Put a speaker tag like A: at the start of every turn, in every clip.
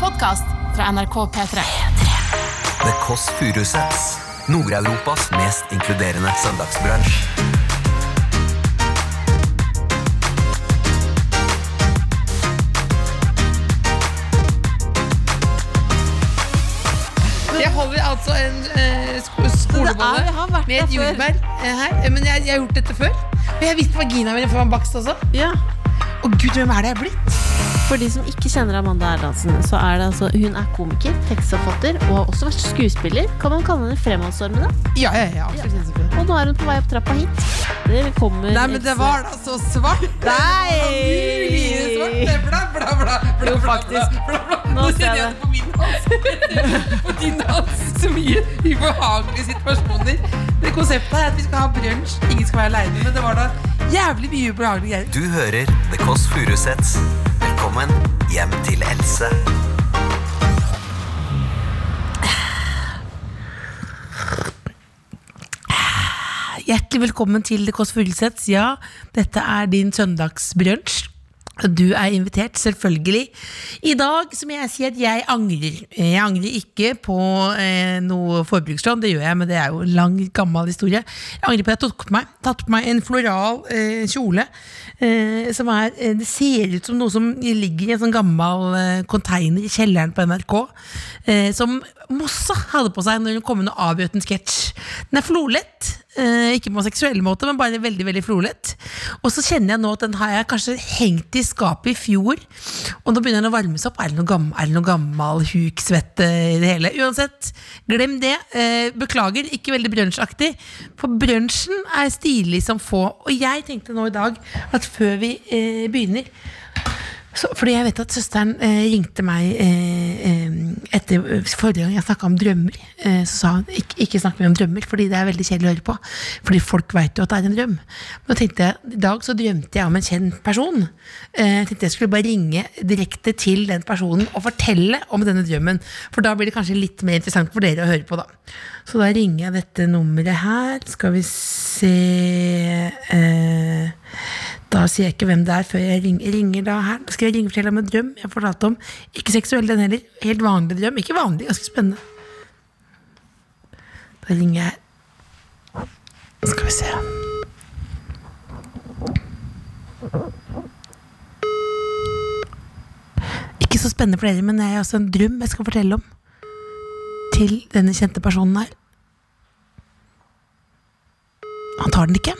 A: podkast fra NRK P3.
B: The Kåss Furuseths. Nord-Europas mest inkluderende søndagsbransj.
C: Jeg holder altså en eh, sko skolebolle
D: Det er- har vært
C: med et
D: der før.
C: jordbær eh, her. Eh, Men jeg, jeg har gjort dette før. Og jeg visste vaginaen min før man bakst også.
D: Ja.
C: Og gud, hvem er det jeg er blitt?
D: For de som ikke kjenner Amanda Erlandsen, så er det altså hun er komiker, tekstforfatter og har også vært skuespiller. Kan man kalle henne Fremadstormende?
C: Ja, ja, ja, absolutt. selvfølgelig.
D: Og nå er hun på vei opp trappa hit. Det kommer
C: Nei, men det var da så svart! Det var mulig svart. Det er Bla, bla, bla, bla, bla,
D: Jo, faktisk.
C: Bla, bla, bla.
D: Nå
C: Nå
D: ser
C: kjenner
D: jeg
C: jeg det på min hals. På din hals. Så mye ubehagelige situasjoner. Det Konseptet er at vi skal ha brunsj. Ingen skal være aleine. Men det var da jævlig mye ubehagelige greier.
B: Du hører The Kåss Furuseths. Velkommen hjem til Else.
C: Hjertelig velkommen til Det Kåss Furuseths. Ja, dette er din søndagsbrunsj. Du er invitert, selvfølgelig. I dag så må jeg si at jeg angrer. Jeg angrer ikke på eh, noe forbrukslån, det gjør jeg, men det er jo en lang, gammel historie. Jeg angrer på at jeg tok på meg, tatt på meg en floral eh, kjole. Eh, som er, eh, det ser ut som noe som ligger i en sånn gammel eh, container i kjelleren på NRK. Eh, som Mossa hadde på seg når hun kom inn og avbrøt en sketsj. Den er flolett. Eh, ikke på en seksuell måte, men bare veldig veldig flolett. Og så kjenner jeg nå at den har jeg kanskje hengt i skapet i fjor. Og nå begynner den å varme seg opp. Er det noe gammel, er det noe gammel huksvette i det hele? Uansett, glem det. Eh, beklager, ikke veldig brunsjaktig. For brunsjen er stilig som få. Og jeg tenkte nå i dag at før vi eh, begynner så, fordi jeg vet at søsteren eh, ringte meg eh, eh, etter forrige gang jeg snakka om drømmer. Eh, så sa hun ikke, ikke snakk mer om drømmer, fordi det er veldig kjedelig å høre på. Fordi folk veit jo at det er en drøm. Men da tenkte jeg, I dag så drømte jeg om en kjent person. Eh, jeg tenkte jeg skulle bare ringe direkte til den personen og fortelle om denne drømmen. For da blir det kanskje litt mer interessant for dere å høre på, da. Så da ringer jeg dette nummeret her. Skal vi se eh, da sier jeg ikke hvem det er før jeg ringer, ringer da her. Da skal jeg ringe og fortelle om en drøm jeg fortalte om. Ikke seksuell den heller. Helt vanlig drøm. Ikke vanlig, ganske spennende. Da ringer jeg. Skal vi se. Ikke så spennende for dere, men det er altså en drøm jeg skal fortelle om. Til denne kjente personen her. Han tar den ikke.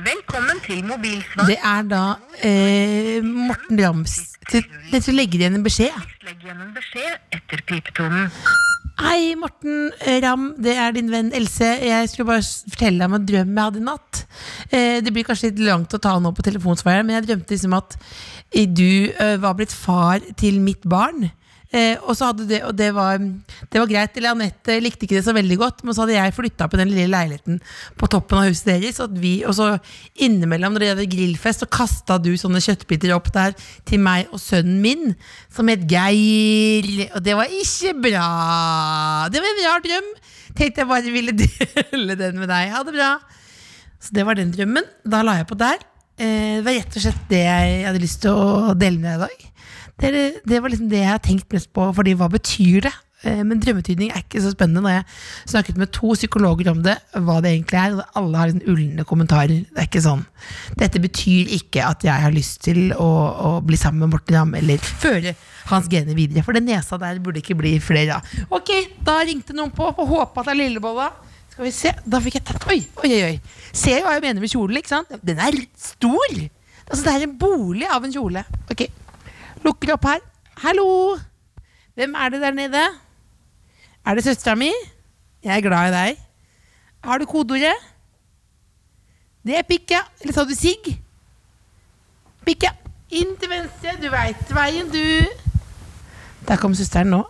E: Velkommen til mobilsvar.
C: Det er da eh, Morten Rams til, Jeg tror jeg legger igjen en beskjed jeg.
E: Legg igjen en beskjed etter pipetonen.
C: Hei Morten eh, Ram, det er din venn Else Jeg skulle bare s- fortelle deg om en drøm jeg hadde i natt eh, Det blir kanskje litt langt å ta nå på telefonsvareren Men jeg drømte liksom at eh, Du eh, var blitt far til mitt barn Eh, og så hadde det, og det var, det var greit, eller Anette likte ikke det så veldig godt, men så hadde jeg flytta på den lille leiligheten på toppen av huset deres, og, at vi, og så innimellom når det hadde grillfest, så kasta du sånne kjøttbiter opp der til meg og sønnen min, som het Geir, og det var ikke bra. Det var en rar drøm. Tenkte jeg bare ville dele den med deg. Ha det bra. Så det var den drømmen. Da la jeg på der. Eh, Det var rett og slett det jeg hadde lyst til å dele med deg i dag. Det, er- det var liksom det jeg har tenkt mest på, fordi hva betyr det? Eh, Men drømmetydning er ikke så spennende når jeg snakket med to psykologer om det, hva det egentlig er, og alle har liksom ulne kommentarer. Det er ikke sånn. Dette betyr ikke at jeg har lyst til å, å bli sammen med Morten Ramm, eller føre hans gener videre, for den nesa der burde ikke bli flere av. Ok, da ringte noen på, og håpa at det er Lillebolla. Skal vi se, da fikk jeg tatt Oi, oi, oi, oi. Ser jo hva jeg mener med kjolen, ikke sant? Den er stor! Altså, det er en bolig av en kjole. Ok, Lukker opp her. Hallo! Hvem er det der nede? Er det søstera mi? Jeg er glad i deg. Har du kodeordet? Det er pikk, ja. Eller sa du sigg? Pikk, ja. Inn til venstre. Du veit veien, du. Der kom søsteren nå.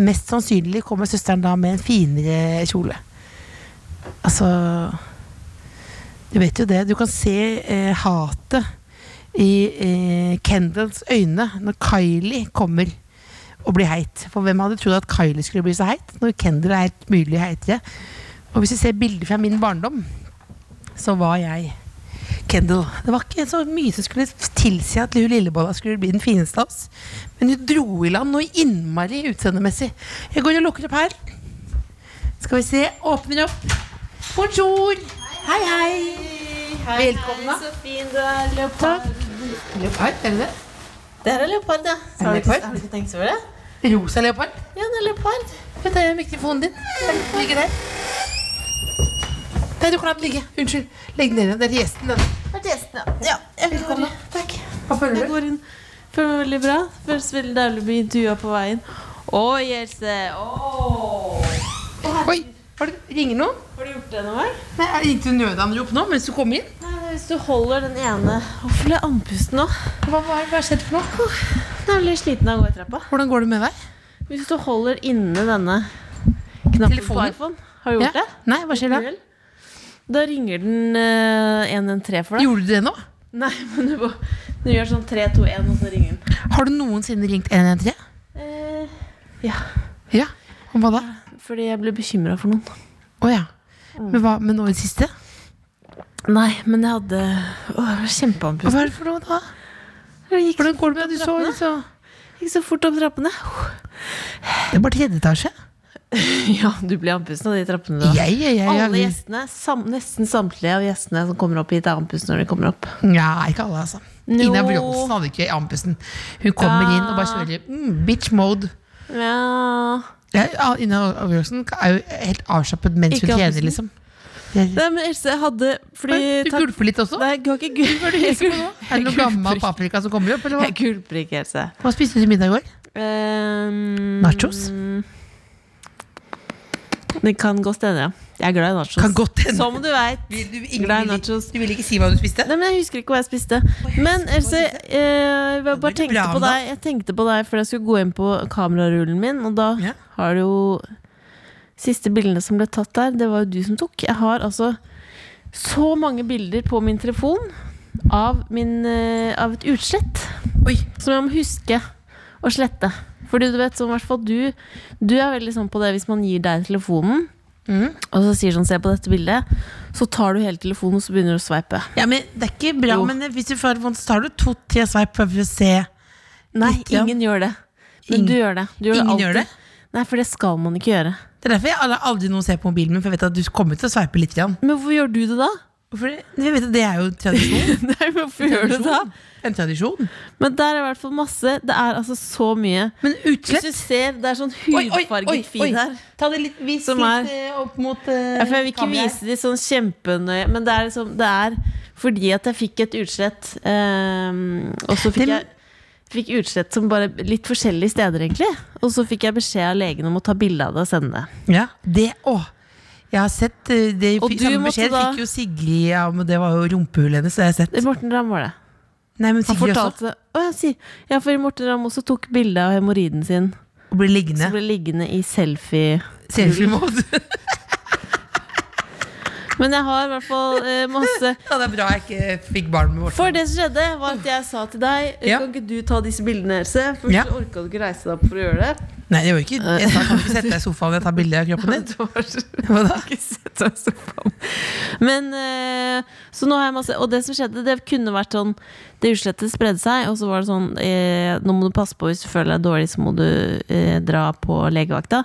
C: Mest sannsynlig kommer søsteren da med en finere kjole. Altså Du vet jo det. Du kan se eh, hatet i eh, Kendalls øyne når Kylie kommer og blir heit. For hvem hadde trodd at Kylie skulle bli så heit når Kendall er helt mulig heitere? Og hvis vi ser bilder fra min barndom, så var jeg Kendall. Det var ikke så mye som skulle tilsi at hun Lillebolla skulle bli den fineste av oss. Men hun dro i land noe innmari utseendemessig. Jeg går og lukker opp her. Skal vi se. Åpner opp. Bonjour. Hei, hei. Velkommen. da.
D: Så fin du er,
C: Takk. Leopard, er det det?
D: Det her er leopard, ja.
C: Er det
D: Har du ikke-
C: leopard?
D: Har du ikke tenkt over det?
C: Rosa leopard.
D: Ja, det er leopard.
C: Vent, det er mikrofonen din. Den ligger der. Nei, du kan la den ligge. Unnskyld. Legg den ned igjen. Det er til gjesten, den.
D: Det er til gjestene. Ja, jeg vil komme. Takk.
C: Hva føler
D: Jeg
C: du?
D: går inn. Føler meg veldig bra. Føles veldig deilig å bli intervjua på veien. Å, Else. Å.
C: Oi, har du, ringer noen?
D: Har du gjort det noen gang?
C: Nei, jeg ringte nødanrop nå mens du kom inn.
D: Nei, det er Hvis du holder den ene Hvorfor ble jeg andpusten nå?
C: Hva, hva, hva har skjedd for noe?
D: Jeg er veldig sliten av å gå i trappa.
C: Hvordan går det med deg?
D: Hvis du holder inne denne knappen
C: Telefonen.
D: på iPhone Har du gjort
C: Ja?
D: det?
C: Nei, hva skjer da?
D: Vel? Da ringer den eh, 113 for deg.
C: Gjorde du det nå?
D: Nei, men du, bare- du gjør sånn 321, og så ringer den.
C: Har du noensinne ringt 113?
D: Eh,
C: Ja. Om hva da?
D: fordi jeg ble bekymra for noen.
C: Å ja. Men hva med nå i det siste?
D: Nei, men jeg hadde Åh, jeg var
C: Hva
D: kjempeandpusten.
C: er det for noe da?
D: Jeg gikk,
C: Hvordan går det med deg? Du så, du så.
D: gikk så fort opp trappene.
C: Det er bare tredje etasje.
D: Ja, du ble andpusten av de trappene. da.
C: Jeg, jeg, jeg,
D: Alle
C: jeg.
D: gjestene, sam, nesten samtlige av gjestene som kommer opp hit, er andpusten når de kommer opp.
C: Ja, ikke alle, altså. Ina
D: Jo.
C: Wroldsen hadde ikke andpusten. Hun kommer
D: Ja.
C: inn og bare kjører mm, bitch mode.
D: Ja.
C: Ja, Ina Wroldsen er jo helt avslappet mens hun
D: Ikke
C: trener,
D: andpusten.
C: liksom. Det er-
D: Nei, men Else, jeg hadde Fordi
C: Oi, Du
D: takk-
C: gulper litt også?
D: Nei, du har ikke gulp. Jeg gulper
C: Er det noe gammel
D: ikke.
C: paprika som kommer opp? Eller
D: Jeg
C: hva?
D: gulper ikke, Else.
C: hva spiste du til middag i går?
D: Ehm,
C: Nachos?
D: Det kan godt hende, ja. Jeg er glad i nachos.
C: Kan godt hende.
D: Som du veit.
C: Vil du,
D: ingen Glad i vil- nachos.
C: vil ikke si hva du spiste?
D: Nei, men Jeg husker ikke hva jeg spiste. Men Else, eh,
C: Det
D: jeg bare
C: blir
D: tenkte
C: bra
D: på
C: om da.
D: deg Jeg tenkte på deg fordi jeg skulle gå inn på kamerarullen min, og da
C: Ja.
D: har du jo Siste bildene som ble tatt der, det var jo du som tok. Jeg har altså så mange bilder på min telefon av, min, eh, av et utslett
C: Oi.
D: som jeg må huske å slette. Fordi du vet, som i hvert fall du Du er veldig sånn på det hvis man gir deg telefonen,
C: Mhm.
D: og så sier sånn 'se på dette bildet', så tar du hele telefonen og så begynner du å sveipe.
C: Ja, men Det er ikke bra,
D: Jo.
C: men hvis du får vondt, så tar du to-tre sveip for å se.
D: Nei,
C: Litt, ja.
D: ingen gjør det. Men
C: Ingen-
D: du gjør det. Du gjør
C: Ingen
D: alltid.
C: gjør det?
D: Nei, for det skal man ikke gjøre.
C: Det er derfor jeg aldri, aldri noen ser på mobilen min, for jeg vet at du kommer til å sveipe litt. Grann.
D: Men hvorfor gjør du det da?
C: Hvorfor det? Jeg vet at det er jo tradisjon.
D: Nei, hvorfor gjør du det da?
C: En tradisjon.
D: Men der er i hvert fall masse. Det er altså så mye.
C: Men
D: Hvis
C: utslett
D: du ser, det er sånn hudfarget fin her.
C: Ta det litt, vis
D: Som er-
C: litt eh, opp mot eh,
D: Ja, for jeg vil ikke
C: kameraet.
D: vise de sånn kjempenøye, men det er liksom Det er fordi at jeg fikk et utslett, ehm, og så fikk
C: Det-
D: jeg Fikk utslett som bare litt forskjellige steder, egentlig. Og så fikk jeg beskjed av legen om å ta bilde av det og sende det.
C: Ja, det òg. Jeg har sett eh, det i
D: Og
C: fi-
D: du
C: samme
D: måtte
C: beskjed
D: da-
C: fikk jo Sigrid ja, men det var jo rumpehullet hennes. Det har jeg sett.
D: Morten Ramm var det.
C: Nei, men
D: Han
C: Sigrid også.
D: fortalte Å, jeg sier Ja, for Morten Ramm også tok bilde av hemoroiden sin.
C: Og ble liggende.
D: Som ble liggende i selfie.
C: Selfie-mode.
D: Men jeg har i hvert fall eh, masse
C: ja, det er bra jeg ikke fikk barn med Morten.
D: For det som skjedde, var at jeg sa til deg
C: Ja.
D: Kan ikke du ta disse bildene, Else? For
C: Ja.
D: så orka du ikke reise deg opp for å gjøre det.
C: Nei, det var ikke Jeg sa kan du ikke sette deg i sofaen og ta bilde av kroppen din?
D: Du har så-
C: Hva da?
D: ikke sett deg i sofaen. Men eh, Så nå har jeg masse Og det som skjedde, det kunne vært sånn Det uslettet spredde seg, og så var det sånn eh, Nå må du passe på hvis du føler deg dårlig, så må du eh, dra på legevakta.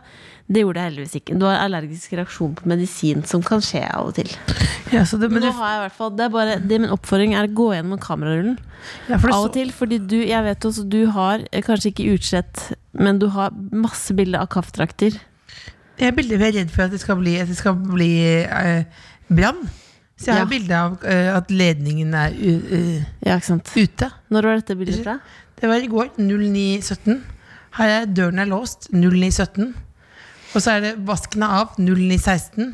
D: Det gjorde jeg heldigvis ikke. Du har allergisk reaksjon på medisin, som kan skje av og til.
C: Ja, så det, men
D: Men
C: du,
D: nå har jeg i hvert fall Det er bare Det min oppfordring er å gå gjennom kamerarullen
C: ja, for det
D: av og
C: så,
D: til, fordi du Jeg vet også du har eh, kanskje ikke utslett, men du har masse bilder av kaffetrakter.
C: jeg er veldig redd for at det skal bli, at det skal bli eh, brann. Så jeg har
D: Ja.
C: bilde av eh, at ledningen er u, eh,
D: Ja, ikke sant?
C: ute.
D: Når var dette bildet fra?
C: Det var i går. 09.17. Har jeg døren er låst. 09.17. Og så er det vasken er av. 09.16.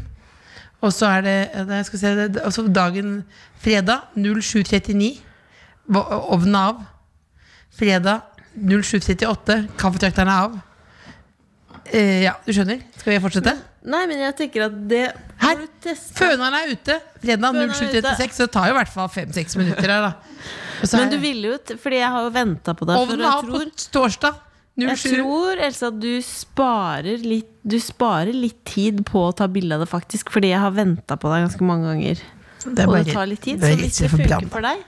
C: Og så er det, det skal vi se, det, og så dagen fredag 07.39. Va- Ovnen er av. Fredag 07.38. Kaffetrakteren er av. Eh, ja, du skjønner? Skal vi fortsette?
D: Nei, men jeg tenker at det
C: Her!
D: Har du testet?
C: Føneren er ute. Fredag
D: Føneren er ute.
C: 07.36. Så det tar jo i hvert fall fem-seks minutter her, da. Og så
D: Men
C: er
D: du ville jo t- Fordi jeg har jo venta på deg. For
C: ovnen er
D: jeg
C: av på
D: tror,
C: torsdag.
D: jeg
C: 07.
D: tror Elsa, at du sparer litt Du sparer litt tid på å ta bilde av det, faktisk. Fordi jeg har venta på deg ganske mange ganger.
C: Det er
D: Og
C: bare-
D: det tar litt tid,
C: det
D: så
C: er
D: hvis
C: rett
D: det
C: for
D: funker
C: brann.
D: for deg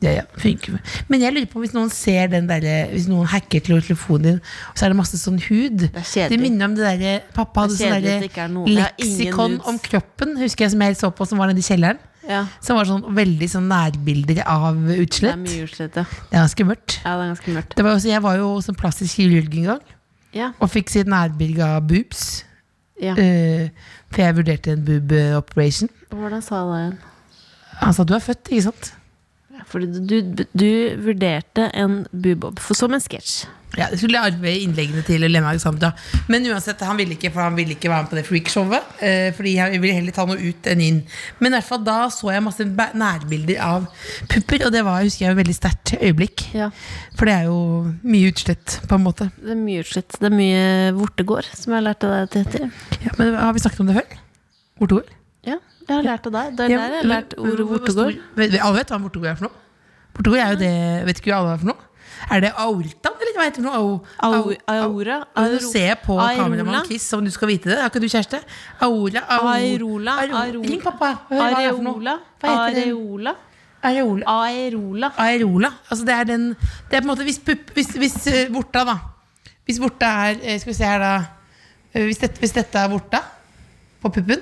C: Ja, ja, funker. Men jeg lurer på om hvis noen ser den der, Hvis noen hacker til telefonen din, og så er det masse sånn hud Det,
D: kjedelig.
C: minner om det derre Pappa hadde
D: Det er
C: sånn
D: kjedelig at det ikke er noen-
C: derre
D: Jeg har ingen
C: leksikon
D: nudes.
C: om kroppen, husker jeg, som jeg så på, som var nede i kjelleren.
D: Ja,
C: Som var sånn veldig sånn nærbilder av
D: det er
C: utslett.
D: mye utslett, ja.
C: Det er ganske mørkt.
D: ja. Det er ganske mørkt.
C: Det var også, jeg var jo som plastisk kirurg en gang,
D: Ja,
C: og fikk sitt nærbilde av boobs.
D: ja.
C: eh, for jeg vurderte en boob eh, operation.
D: Hvordan sa jeg det igjen?
C: Han sa du er født, ikke sant?
D: Fordi du, du- du vurderte en boob-bob for- som en sketsj.
C: Ja, jeg skulle arve innleggene til Lena Alexandra. Men uansett, han ville ikke, for han ville ikke være med på det freakshowet. eh, Fordi jeg ville heller ta noe ut enn inn. Men i hvert fall da så jeg masse bæ- nærbilder av pupper, og det var husker jeg, et veldig sterkt øyeblikk.
D: Ja.
C: For det er jo mye utslett, på en måte.
D: Det er mye utslett. Det er mye vortegård, som jeg har lært av deg at det heter.
C: Ja, men har vi snakket om det før? Vortegård?
D: Ja, jeg har lært av deg. Det er der jeg har lært ordet vortegård.
C: Vet- vet- Alle vet hva en vortegård er for noe? Vortegård er jo det Vet ikke hva det er for noe? Er det aortaen, eller hva heter det? for noe? Au- au-
D: Au- Aura?
C: Ja, Nå
D: Auro-
C: ser jeg på
D: Aerola?
C: kameramann Kiss om du skal vite det. Har ikke du kjæreste? Aora au-
D: Aerola,
C: Aero-
D: aerola.
C: Ring pappa. Hør hva det er for noe.
D: Areola?
C: Hva heter det?
D: Areola?
C: Areola.
D: Aerola.
C: Aerola. Altså det er den Det er på en måte Hvis, pupp, hvis, hvis eh, vorta, da Hvis vorta er eh, Skal vi se her, da. Eh, Hvis dette, hvis dette er vorta på puppen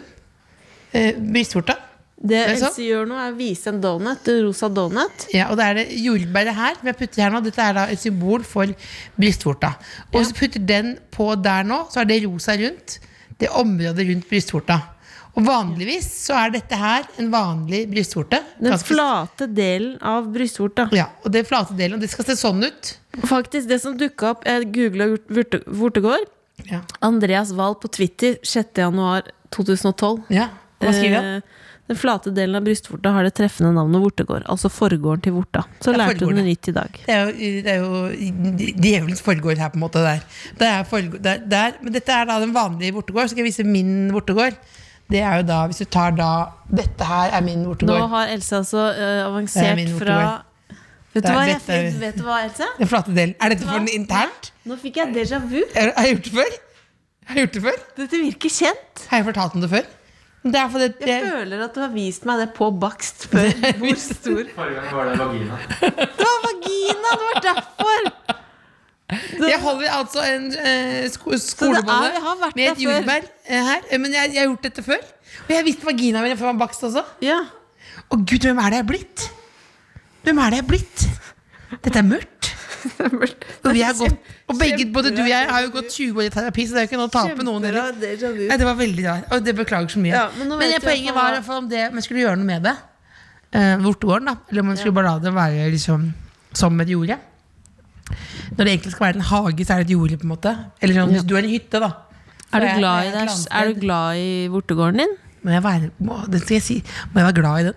C: eh, Brystvorta.
D: Det
C: Er det sant?
D: Else gjør nå, er å vise en donut. en Rosa donut.
C: Ja, og da er det jordbæret her, som jeg putter her nå. Dette er da et symbol for brystvorta. Og hvis du putter den på der nå, så er det rosa rundt. Det området rundt brystvorta. Og vanligvis så er dette her en vanlig brystvorte.
D: Den
C: Ganske-
D: flate delen av brystvorta.
C: Ja, og det er flate delen. Og det skal se sånn ut.
D: Faktisk, det som dukka opp Jeg googla vortegård.
C: Ja.
D: Andreas Wahl på Twitter 6.1.2012.
C: ja. Hva skriver han?
D: Eh, Den flate delen av brystvorta har det treffende navnet vortegård. Altså forgården til vorta. Så
C: Ja,
D: lærte hun
C: forgården,
D: noe
C: ja.
D: nytt i dag.
C: Det er jo, det er jo djevelens forgård her, på en måte. Der. Det er forgård, der, der. Men dette er da den vanlige vortegård. Så skal jeg vise min vortegård. Det er jo da, hvis du tar da Dette her er min
D: Nå
C: vortegård.
D: har Else altså eh,
C: Det er
D: avansert
C: min
D: fra
C: vortegård.
D: Vet du
C: Det er
D: hva, jeg,
C: dette er-
D: fikk- vet du hva, Else?
C: Den flate delen. Er dette for den
D: Hva?
C: internt?
D: Nå fikk jeg déjà vu.
C: Er- Har jeg gjort det før? Har jeg gjort det før?
D: Dette virker kjent.
C: Har jeg fortalt om det før? Det er fordi det,
D: Jeg føler at du har vist meg det på bakst før. Hvor stor
F: Forrige gang var det vagina.
D: Det var vagina! Det var derfor! Det-
C: jeg holder altså en eh, sko
D: er- jeg har
C: skolebolle med
D: vært der
C: et
D: før.
C: jordbær eh, her. Eh, Men jeg, jeg har gjort dette før. Og jeg visste vaginaen min før man bakst også.
D: Ja.
C: Å gud, hvem er det jeg er blitt? Hvem er det jeg er blitt? Dette er mørkt. Og, vi har gått, og begge, både du og jeg har jo gått 20 år i terapi, så det er jo ikke noe å tape noen deler.
D: Kjempebra déjà vu.
C: Nei, det var veldig rart. Og det beklager så mye.
D: Ja,
C: men
D: men nå
C: det
D: vet du i hvert
C: poenget
D: fall
C: var i
D: hva-
C: hvert fall om det man skulle gjøre noe med det. Eh, vortegården, da. Eller om man skulle bare la det være liksom, som et jorde. Når det egentlig skal være en hage, så er det et jorde, på en måte. Eller sånn, hvis du er en hytte, da.
D: Er du
C: Jeg-
D: glad i
C: jeg
D: deg?
C: et
D: Er du
C: landsted.
D: glad i vortegården din?
C: Må jeg være må, det skal jeg si. Må jeg være glad i den?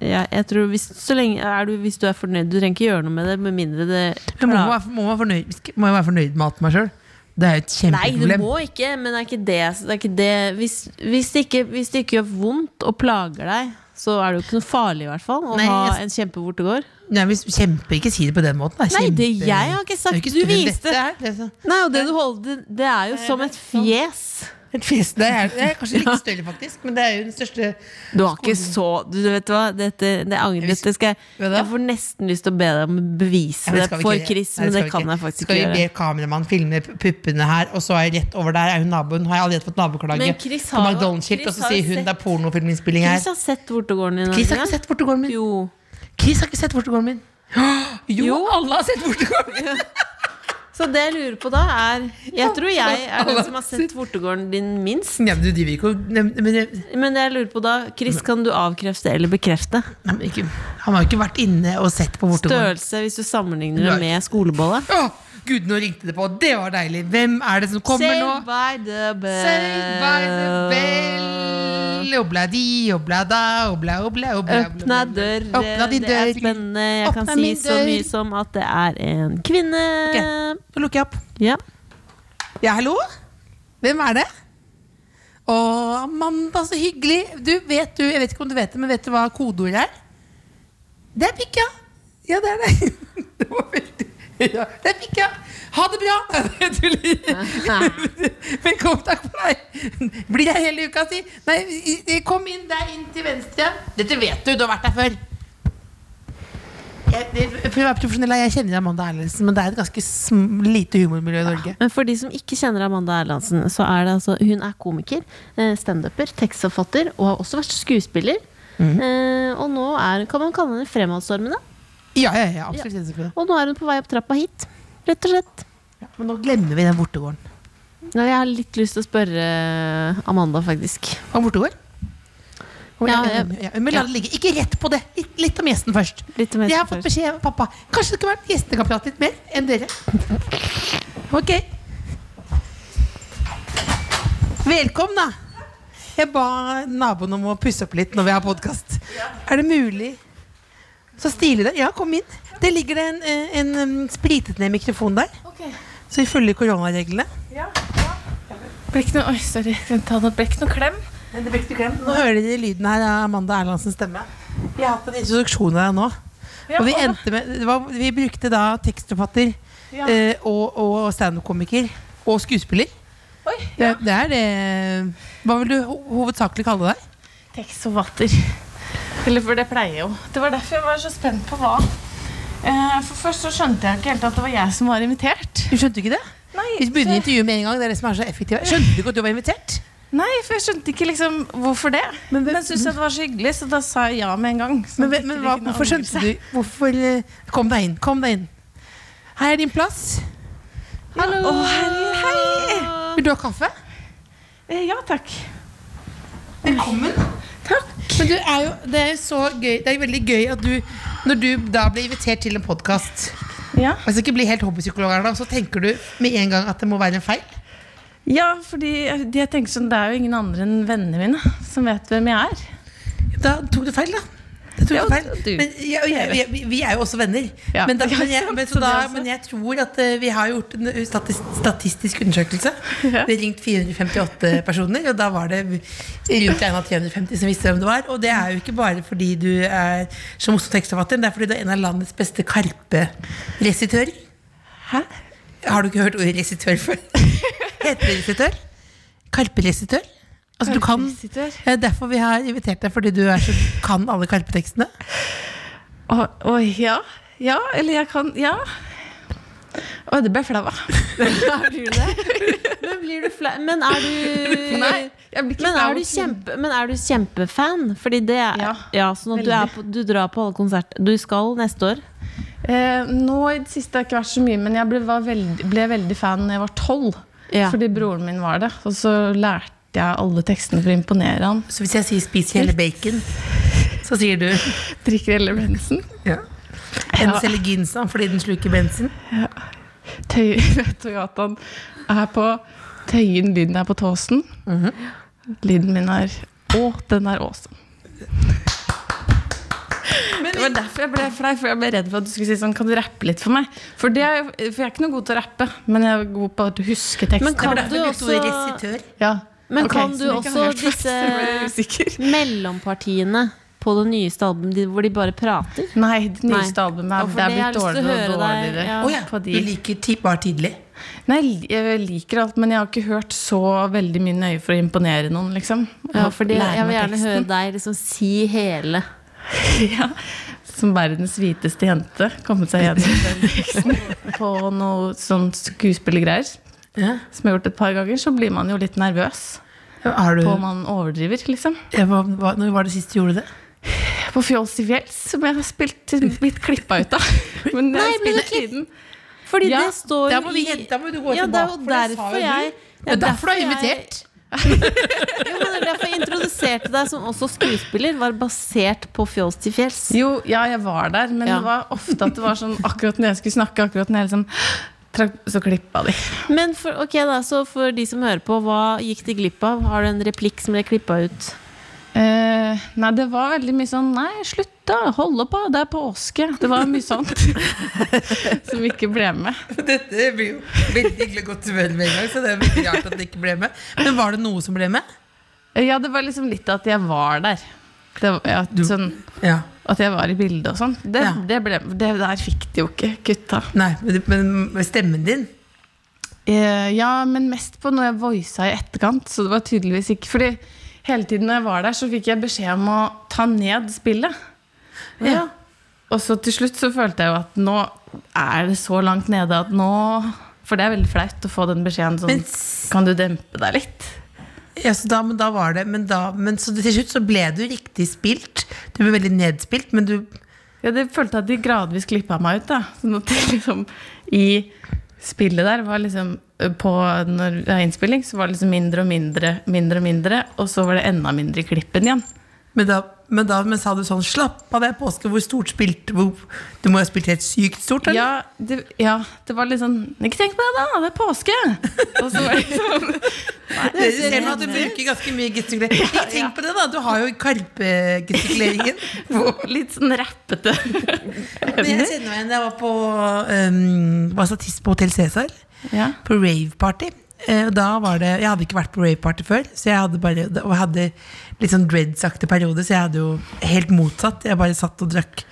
D: Ja, jeg tror hvis, så lenge, er du, hvis du er fornøyd Du trenger ikke gjøre noe med det, med mindre det
C: Jeg må, være- må, være fornøyd, må jeg være fornøyd med alt meg sjøl? Det er jo et
D: Nei, du
C: kjempeproblem.
D: må ikke, men det er ikke det. Det er ikke det. Hvis, hvis, det ikke, hvis det ikke gjør vondt og plager deg, så er det jo ikke noe farlig, i hvert fall. Å
C: Nei,
D: ha
C: jeg-
D: en kjempevortegård.
C: Nei, men kjempe, ikke si det på den måten. Det er
D: Nei, det-
C: kjempe-
D: jeg har ikke sagt-
C: Det er
D: du
C: større enn
D: viste-
C: dette her, det er sånn-
D: Nei, og det du holder, det, det er jo som et fjes.
C: Et fjes. Det er, det er kanskje litt større, faktisk, men det er jo den største
D: Du har ikke så Du vet hva, dette det angrer jeg. Det skal jeg,
C: Hva da?
D: jeg får nesten lyst til å be deg om å bevise
C: Ja, men
D: det
C: skal vi
D: for
C: ikke-
D: Chris,
C: Nei,
D: men
C: skal vi
D: det kan jeg faktisk
C: Skal
D: ikke
C: vi
D: gjøre.
C: be kameramannen filme pu- puppene her, og så er jeg rett over der er hun naboen. Har jeg allerede fått naboklage
D: Men Chris
C: på
D: har jo-
C: McDonald's-skilt, og
D: Chris
C: så
D: har jo
C: sier hun
D: sett-
C: det er pornofilminnspilling her.
D: Chris har sett vortegården din.
C: Chris har
D: ikke
C: ikke sett portugalen min.
D: Jo.
C: Chris har ikke sett portugalen min. Jo, alle har sett portugalen min!
D: Så det jeg lurer på da, er Jeg tror jeg er den som har sett vortegården din minst.
C: Ja, men du driver ikke og- Nei, men det-
D: Men det jeg lurer på da,
C: Mm.
D: Chris, kan du avkrefte eller bekrefte?
C: Nei, men ikke- Han har jo ikke vært inne og sett på portugalen.
D: Størrelse hvis du sammenligner
C: Du
D: det
C: er-
D: med skolebolle.
C: Å, gud, nå ringte det på. Det var deilig. Hvem er det som kommer nå?
D: Saved by the bell.
C: Saved by the bell. Obla di, obla da, obla, obla, obla. obla,
D: Åpna
C: obla.
D: døren,
C: Åpna din
D: det
C: dør.
D: er spennende. Jeg
C: Åpna
D: kan si
C: min
D: så
C: dør.
D: mye som at det er en kvinne.
C: Ok. Nå lukker jeg opp.
D: Ja.
C: Ja, hallo? Hvem er det? Å, Amanda, så hyggelig. Du, vet du, jeg vet ikke om du vet det, men vet du hva kodeordet er? Det er pikk, ja. Ja, det er det. Det var veldig Ja, det er pikk, ja. Ha det bra! Jeg tuller. Velkommen, takk for deg. Blir jeg hele uka, si. Nei, i- i- kom inn der inn til venstre. Dette vet du, du har vært der før. Jeg, det- for å være profesjonell, jeg kjenner Amanda Erlendsen, men det er et ganske sm lite humormiljø i Norge.
D: Men for de som ikke kjenner Amanda Erlandsen, så er det altså Hun er komiker, eh, standuper, tekstforfatter og har også vært skuespiller.
C: Mhm.
D: Eh, og nå er, kan man kalle henne Fremadstormene.
C: Ja, ja, ja, absolutt. kjenner seg på det.
D: Og nå er hun på vei opp trappa hit, rett og slett.
C: Ja, men nå glemmer vi den bortegården.
D: Nei, jeg har litt lyst til å spørre eh, Amanda, faktisk.
C: Om bortegård? Om-
D: Ja,
C: ja,
D: jeg-
C: ja, men la det ligge. Ikke rett på det. Litt, litt om gjesten først.
D: Litt om gjesten
C: jeg har fått
D: først.
C: beskjed av pappa. Kanskje det kunne vært gjestene kan prate litt mer enn dere. Ok. Velkommen, da. Jeg ba naboen om å pusse opp litt når vi har podkast. Er det mulig? Så stilig der. Ja, kom inn. Det ligger det en, eh, en um, spritet ned mikrofon der. Så vi følger koronareglene.
F: Blekk noe, oi, sorry. Skal jeg ta noe blekk noe klem?
C: Nå hører dere lyden her av Amanda Erlandsens stemme. Vi har hatt en introduksjon av deg nå.
F: Ja,
C: og vi
F: og-
C: endte med det var, Vi brukte da tekstforfatter
F: Ja.
C: eh, og, og standup-komiker og skuespiller.
F: Oi,
C: Det, det er det Hva vil du ho hovedsakelig kalle deg?
F: tekstforfatter. Eller for det pleier jeg jo. Det var derfor jeg var så spent på hva. Eh, For først så skjønte jeg ikke helt at det var jeg som var invitert.
C: Du skjønte ikke det?
F: Nei,
C: Vi begynner intervjuet med en gang. Det er det som er så effektivt. Skjønte du ikke at du var invitert?
F: Nei, for jeg skjønte ikke liksom hvorfor det. Men, syntes jeg det var så hyggelig, så da sa jeg ja med en gang. sånn
C: Men, men,
F: at det
C: men
F: ikke
C: hva,
F: kunne
C: hvorfor skjønte du Hvorfor eh, Kom deg inn. Kom deg inn. Her er din plass. Hallo.
F: Å, herre, hei!
C: Vil du ha kaffe?
F: Eh, Ja, takk.
C: Velkommen. Takk. Men du er jo, det er jo så gøy Det er jo veldig gøy at du, når du da blir invitert til en podkast
F: Ja.
C: Altså ikke bli helt hobbypsykolog, her da, så tenker du med en gang at det må være en feil.
F: ja, fordi jeg, jeg tenker sånn, det er jo ingen andre enn vennene mine som vet hvem jeg er.
C: Da tok du feil, da. Det tok
F: Ja,
C: du feil.
D: du-
C: Men jeg, og jeg, vi- vi er jo også venner.
F: Ja.
C: Men, da,
F: Ja,
C: men, jeg, men, så
F: sant,
C: da,
F: det også.
C: men jeg tror at eh, vi har gjort en statis, statistisk undersøkelse. Vi har ringt 458 personer, og da var det rundt en av 350 som visste hvem du var. Og det er jo ikke bare fordi du er som Oslo tekstforfatter, det er fordi du er en av landets beste karperesitører.
F: Hæ?
C: Har du ikke hørt ordet resitør før? Heter det resitør? Karperesitør? Altså, du kan,
F: Karperesitør.
C: Ja, derfor vi har invitert deg, fordi du er så, kan alle karpetekstene.
F: Å, oi, ja. Ja, eller jeg kan Ja. Oi, det ble jeg flau av.
D: Men blir du flau? Men er du
F: Nei, jeg
D: men
F: blir ikke flau.
D: er, du kjempe, men er du kjempefan? Fordi det er Ja,
F: Ja,
D: sånn at du, er på, du drar på alle konserter. Du skal neste år.
F: Eh, nå i det siste har jeg ikke vært så mye, men jeg ble, var veldig, ble veldig fan da jeg var tolv.
D: Ja.
F: Fordi broren min var det. Og så lærte jeg alle tekstene for å imponere han.
C: Så hvis jeg sier 'spis hele bacon', så sier du
F: Drikker Elle Brensen.
C: ja. Hennes eller ginsan fordi den sluker bensin.
F: Tøy, Toyotaen er på Tøyen, lyden er på tåsen.
D: Mhm.
F: Lyden min er Å, den er awesome. det var derfor jeg ble flau, for jeg ble redd for at du skulle si sånn Kan du rappe litt for meg? For, det er, jo- for jeg er ikke noe god til å rappe, men jeg er god på å huske teksten.
D: Men kan
C: Derfor
D: du
C: brukte
D: også
C: ordet resitør.
F: Ja.
D: Men
F: sånn Ok,
D: kan
F: så
D: du
F: jeg har
D: også
F: hørt først,
D: disse
F: så ble jeg usikker.
D: mellompartiene på det nyeste albumet de- hvor de bare prater?
F: Nei, det
D: Nei.
F: nyeste albumet
D: Ja,
F: er,
D: for
F: det er
D: det jeg
F: blitt
D: har lyst til å
F: dårligere og
D: høre deg,
F: dårligere.
D: ja.
C: Å ja,
F: På de-
C: du liker ti bar tidlig.
F: Nei, jeg liker alt, men jeg har ikke hørt så veldig mye nøye for å imponere noen, liksom.
D: Ja, for det,
F: Lære
D: jeg vil
F: meg
D: gjerne høre deg liksom si hele.
F: ja. Som verdens hviteste jente kommet seg gjennom den teksten på noe sånn skuespillergreier.
C: Ja.
F: Som jeg har gjort et par ganger, så blir man jo litt nervøs
C: Har du,
F: på om man overdriver, liksom.
C: Ja, hva, hva, når var det sist du gjorde det?
F: På Fjols i fjells, som jeg har spilt, blitt klippa ut av. Men det har
D: Nei,
F: jeg
D: ble du
F: spilt siden.
D: Fordi
F: Ja,
D: det står
C: Da
D: jo
C: må, vi,
D: i-
C: hente- da må du gå
D: ja, det er jo
C: tilbake. for det sa jo
D: derfor
C: du.
D: jeg
C: Det er derfor du er
D: jeg-
C: invitert.
D: Jo, men det er derfor jeg introduserte deg som også skuespiller, var basert på Fjols til fjells.
F: Jo, ja, jeg var der, men
D: Ja.
F: det var ofte at det var sånn akkurat når jeg skulle snakke, akkurat når jeg liksom trakk, så klippa de.
D: Men for, ok da, så for de som hører på, hva gikk de glipp av? Har du en replikk som ble klippa ut?
F: Eh, nei, det var veldig mye sånn Nei, slutt, da! Hold opp, da! Det er påske! Det var mye sånt som ikke ble med.
C: Dette blir jo veldig hyggelig og godt humør med en gang, så det er veldig rart at det ikke ble med. Men var det noe som ble med?
F: Eh, Ja, det var liksom litt at jeg var der. Det, var- ja, sånn,
C: Ja.
F: at jeg var i bildet og sånn. Det,
C: Ja.
F: det, ble- det der fikk de jo ikke kutta.
C: Nei, men, men stemmen din
F: Eh, ja, men mest på når jeg voisa i etterkant. Så det var tydeligvis ikke Fordi hele tiden når jeg var der, så fikk jeg beskjed om å ta ned spillet.
C: Ja.
F: Og så til slutt så følte jeg jo at nå er det så langt nede at nå For det er veldig flaut å få den beskjeden sånn
C: Men s-
F: Kan du dempe deg litt?
C: Ja, så da, men da var det Men, da, men så til slutt så ble du riktig spilt. Du ble veldig nedspilt, men du
F: Ja, det følte jeg at de gradvis klippa meg ut. da Sånn at det liksom I spillet der var liksom eh, på når det er innspilling, så var det liksom mindre og mindre, mindre og mindre. Og så var det enda mindre i klippen igjen.
C: Men da, men da men sa du sånn 'slapp av, det er påske', hvor stort spilte hvor, Du må ha spilt helt sykt stort, eller?
F: Ja det, ja, det var litt sånn Ikke tenk på det, da! Det er påske! Og så var det liksom
C: det ser nå at du bruker ganske mye gestikulering. Ikke tenk på det, da! Du har jo karpegestikuleringen.
F: Litt sånn rappete.
C: Men jeg kjenner meg igjen. Jeg var på um, var statist på Hotell Cæsar.
F: Ja.
C: På raveparty. Eh, og da var det, jeg hadde ikke vært på raveparty før, så jeg hadde bare, og jeg hadde litt sånn dreadsaktig periode, så jeg hadde jo helt motsatt. Jeg bare satt og drakk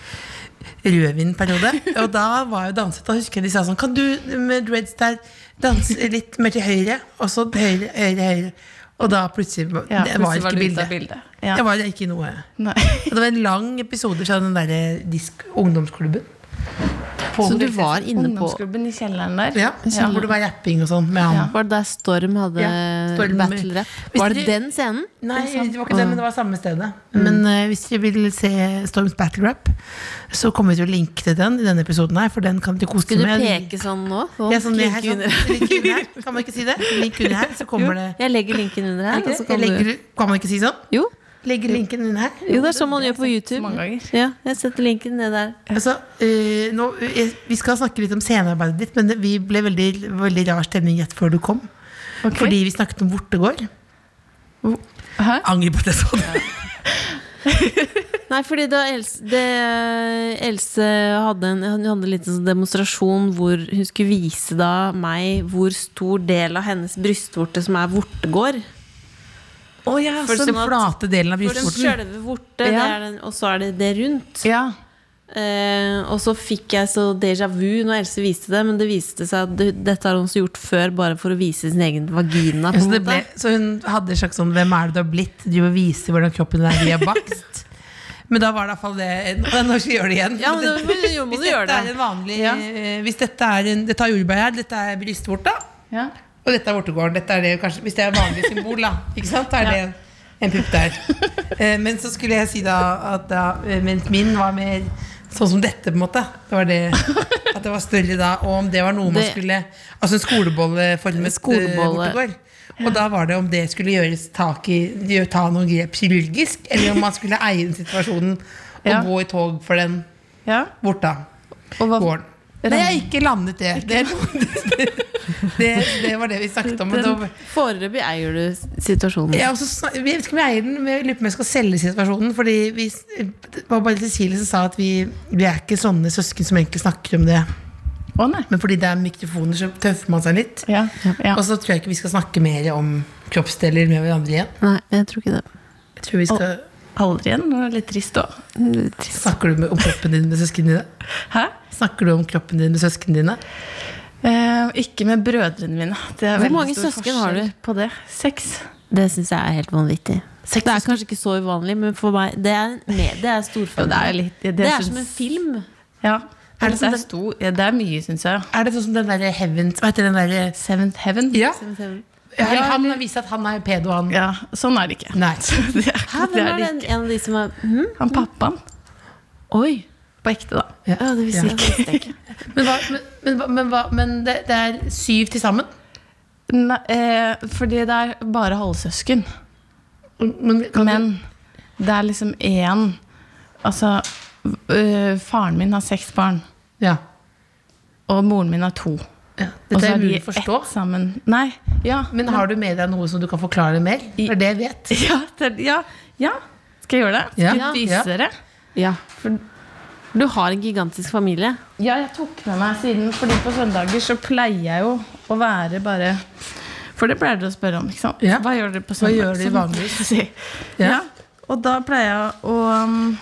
C: rødvinperiode. Og da var jeg jo danset, og husker jeg de sa sånn Kan du med dreads der danse litt mer til høyre? Og så høyre, høyre, høyre. Og da plutselig,
F: Ja,
C: det var
F: plutselig var
C: ikke
F: du ute
C: bildet.
F: av bildet. Ja.
C: Jeg var ikke i noe.
F: Nei.
C: Og det var en lang episode fra den derre disk- ungdomsklubben. På
D: Så du
C: Hotell
D: var inne på
F: Ungdomsklubben i kjelleren der.
C: ja,
D: Ja.
C: Hvor det var rapping og sånn med han.
F: Ja.
D: Var det der Storm hadde
C: Ja, Storm-
D: battle rap?
C: Hvis
D: Var det
C: dere-
D: den scenen?
C: Nei, det var ikke det, men det var samme stedet. Men eh, hvis dere vil se Storms battle rap, så kommer vi til å linke til den i denne episoden her, for den kan dere kose
D: Skulle du
C: med.
D: peke sånn nå? Sånn,
C: Ja, sånn,
D: link
C: her, sånn,
D: under.
C: link under her. Kan man ikke si det? Link under her, så kommer det
D: Jeg legger linken under
C: Er
D: her.
C: ikke
D: Og
C: det?
D: så
C: Jeg
D: kan,
C: legger,
D: du...
C: kan man ikke si sånn?
D: jo.
C: Legger linken under her.
D: jo, det er sånn man gjør på YouTube.
F: mange ganger.
D: Ja, jeg setter linken ned der.
C: Altså, eh, nå, eh, vi skal snakke litt om scenearbeidet ditt, men det- vi ble veldig, veldig rar stemning rett før du kom.
F: Ok.
C: Fordi vi snakket om Vortegård.
F: Hæ?
C: Angrer på at jeg sa det.
D: Nei, fordi da Else, det, Else hadde en hun hadde en liten sånn demonstrasjon hvor hun skulle vise da meg hvor stor del av hennes brystvorte som er vortegård.
F: Å ja,
D: For
C: Den
D: sånn at-
C: flate delen av
D: For den
C: brystvorten.
D: sjølve vorte, det
F: Ja.
D: er den, og så er det det rundt.
F: ja.
D: Eh, og så fikk jeg så déjà vu når Else viste det, men det viste seg at det, dette har hun også gjort før bare for å vise sin egen vagina. På
C: Så,
D: en
C: det ble,
D: måte.
C: så hun hadde en slags sånn Hvem er det du har blitt? Du må vise hvordan kroppen er via bakst. Men da var det iallfall det Nå nå skal vi gjøre det igjen.
D: Ja, men da må- jo, må
C: hvis
D: du gjøre
C: dette
D: det.
C: er en vanlig eh, Hvis dette er en Dette er jordbær her, dette er brystvorta,
F: ja.
C: og dette er vortegården. Dette er det kanskje Hvis det er vanlig symbol, da. Ikke sant? Da er det en, en pupp der. Eh, Men så skulle jeg si da at da, eh, mens min var mer sånn som dette, på en måte. Det var det At det var større da. Og om det var noe man
D: Det-
C: skulle Altså en skolebolleformet
D: Skolebolle.
C: skolebolle. bortegård. Og da var det om det skulle gjøres tak i gjø- Ta noen grep kirurgisk, eller om man skulle eie den situasjonen og
F: Ja.
C: gå i tog for den
F: ja.
C: borta.
F: Og hva,
C: Gården. Nei, jeg har ikke landet det. Det, det, det. det var det vi snakket om. Men det var,
D: Foreløpig eier du s- situasjonen.
C: ja, og så snak- jeg vet ikke om jeg eier den, men jeg lurer på om jeg skal selge situasjonen. Fordi vi, s- det var bare Cecilie som sa at vi, vi er ikke sånne søsken som egentlig snakker om det.
F: å nei.
C: Men fordi det er mikrofoner, så tøffer man seg litt.
F: Ja. ja.
C: Og så tror jeg ikke vi skal snakke mer om kroppsdeler med hverandre igjen.
D: Nei, jeg tror ikke det.
C: Jeg tror vi skal
F: Aldri igjen. Det var litt trist òg.
C: Snakker du med, om kroppen din med søsknene dine?
F: Hæ?
C: Snakker du om kroppen din med søsknene dine?
F: Eh, ikke med brødrene mine. Det er
D: Hvor
F: veldig
D: mange
F: stor
D: søsken har
F: forskjell
D: du?
F: På det. Seks.
D: Det syns jeg er helt vanvittig. Det er kanskje ikke så uvanlig, men for meg Det er, med, det er storfilm.
F: Det er, litt, det,
D: Det er
F: syns-
D: som en film.
F: Ja.
C: Er
F: Er
C: det
F: det,
C: sånn
F: er
C: det-
F: stor, ja, det er mye, syns jeg.
C: Er det sånn som den derre Heavens Hva heter den derre
F: Seventh Heaven.
C: Ja.
D: Hæ,
C: Eller han har vist at han er pedo, han.
F: Ja, Sånn er det ikke.
C: Nei.
F: Det er, det
D: hvem
F: er
D: er
F: det
D: den?
F: ikke.
D: En av de som er hm?
F: Han pappaen.
D: Oi!
F: På ekte, da.
D: Ja, det visste jeg- det visste jeg ikke.
C: Men, hva, men, men, hva- men, hva- men det, det er syv til sammen?
F: Nei, eh, fordi det er bare halvsøsken.
C: Men, kan
F: Men det er liksom én Altså, øh, faren min har seks barn,
C: du, ja.
F: og moren min har to.
C: ja.
F: Og
C: Dette
F: så
C: er
F: har de
C: mulig å forstå.
F: ett sammen. Nei, ja.
C: Men har du med deg noe som du kan forklare mer? Det er det jeg vet.
F: Ja, det, ja, ja. Skal jeg gjøre det?
C: Ja.
F: Skal jeg vise
C: Ja.
F: dere?
D: Ja.
F: For-
D: Du har en gigantisk familie.
F: Ja, jeg tok med meg siden, fordi på søndager så pleier jeg jo å være bare For det pleier dere å spørre om, ikke sant?
C: Ja.
F: Hva gjør dere på søndag?
C: gjør dere
F: Som-
C: vanligvis?
F: si.
C: Ja.
F: Ja. Og da pleier jeg å um,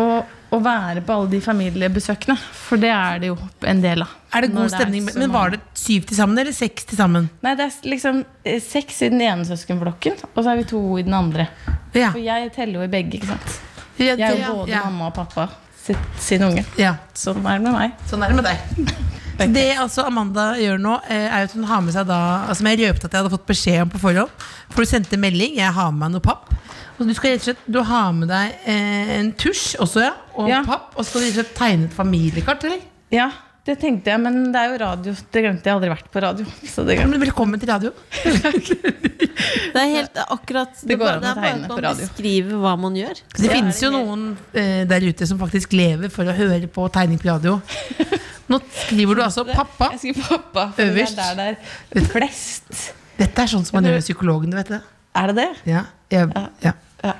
F: å å være på alle de familiebesøkene. For det er det jo en del av.
C: Er det
F: Når
C: god stemning?
F: så
C: Men
F: mange.
C: var det syv til sammen, eller seks til sammen?
F: Nei, det er liksom eh, seks i den ene søskenflokken, og så er vi to i den andre.
C: Ja.
F: For jeg teller jo i begge, ikke sant.
C: Ja,
F: Jeg er
C: ja,
F: jo både
C: ja.
F: mamma og pappa sitt, sin unge.
C: Ja.
F: Sånn er det med meg.
C: Sånn er det med deg. Så det altså Amanda gjør nå, eh, er jo at hun har med seg da Som jeg røpte at jeg hadde fått beskjed om på forhånd. For du sendte melding. Jeg har med meg noe papp. Og du skal rett og slett Du har med deg eh, en tusj også, ja. Og
F: Ja.
C: papp. Og så skal du rett og slett tegne et familiekart, eller?
F: Ja, det tenkte jeg, men det er jo radio. Det glemte jeg aldri vært på radio. Så det
C: Ja,
F: glemte.
C: men Velkommen til radio.
D: Det er helt akkurat Det,
F: går
D: er
F: an
D: bare-
F: å
D: det er
F: tegne
D: bare
F: på
D: at man
F: radio.
D: beskriver hva man gjør.
C: Det finnes jo noen eh, der ute som faktisk lever for å høre på tegning på radio. Nå skriver du altså 'pappa'.
F: Jeg skriver pappa, for
C: Øverst.
F: det er der det er flest.
C: Dette er sånn som man gjør med psykologen, du vet det.
F: Er det det?
C: Ja, jeg, ja.
F: Ja.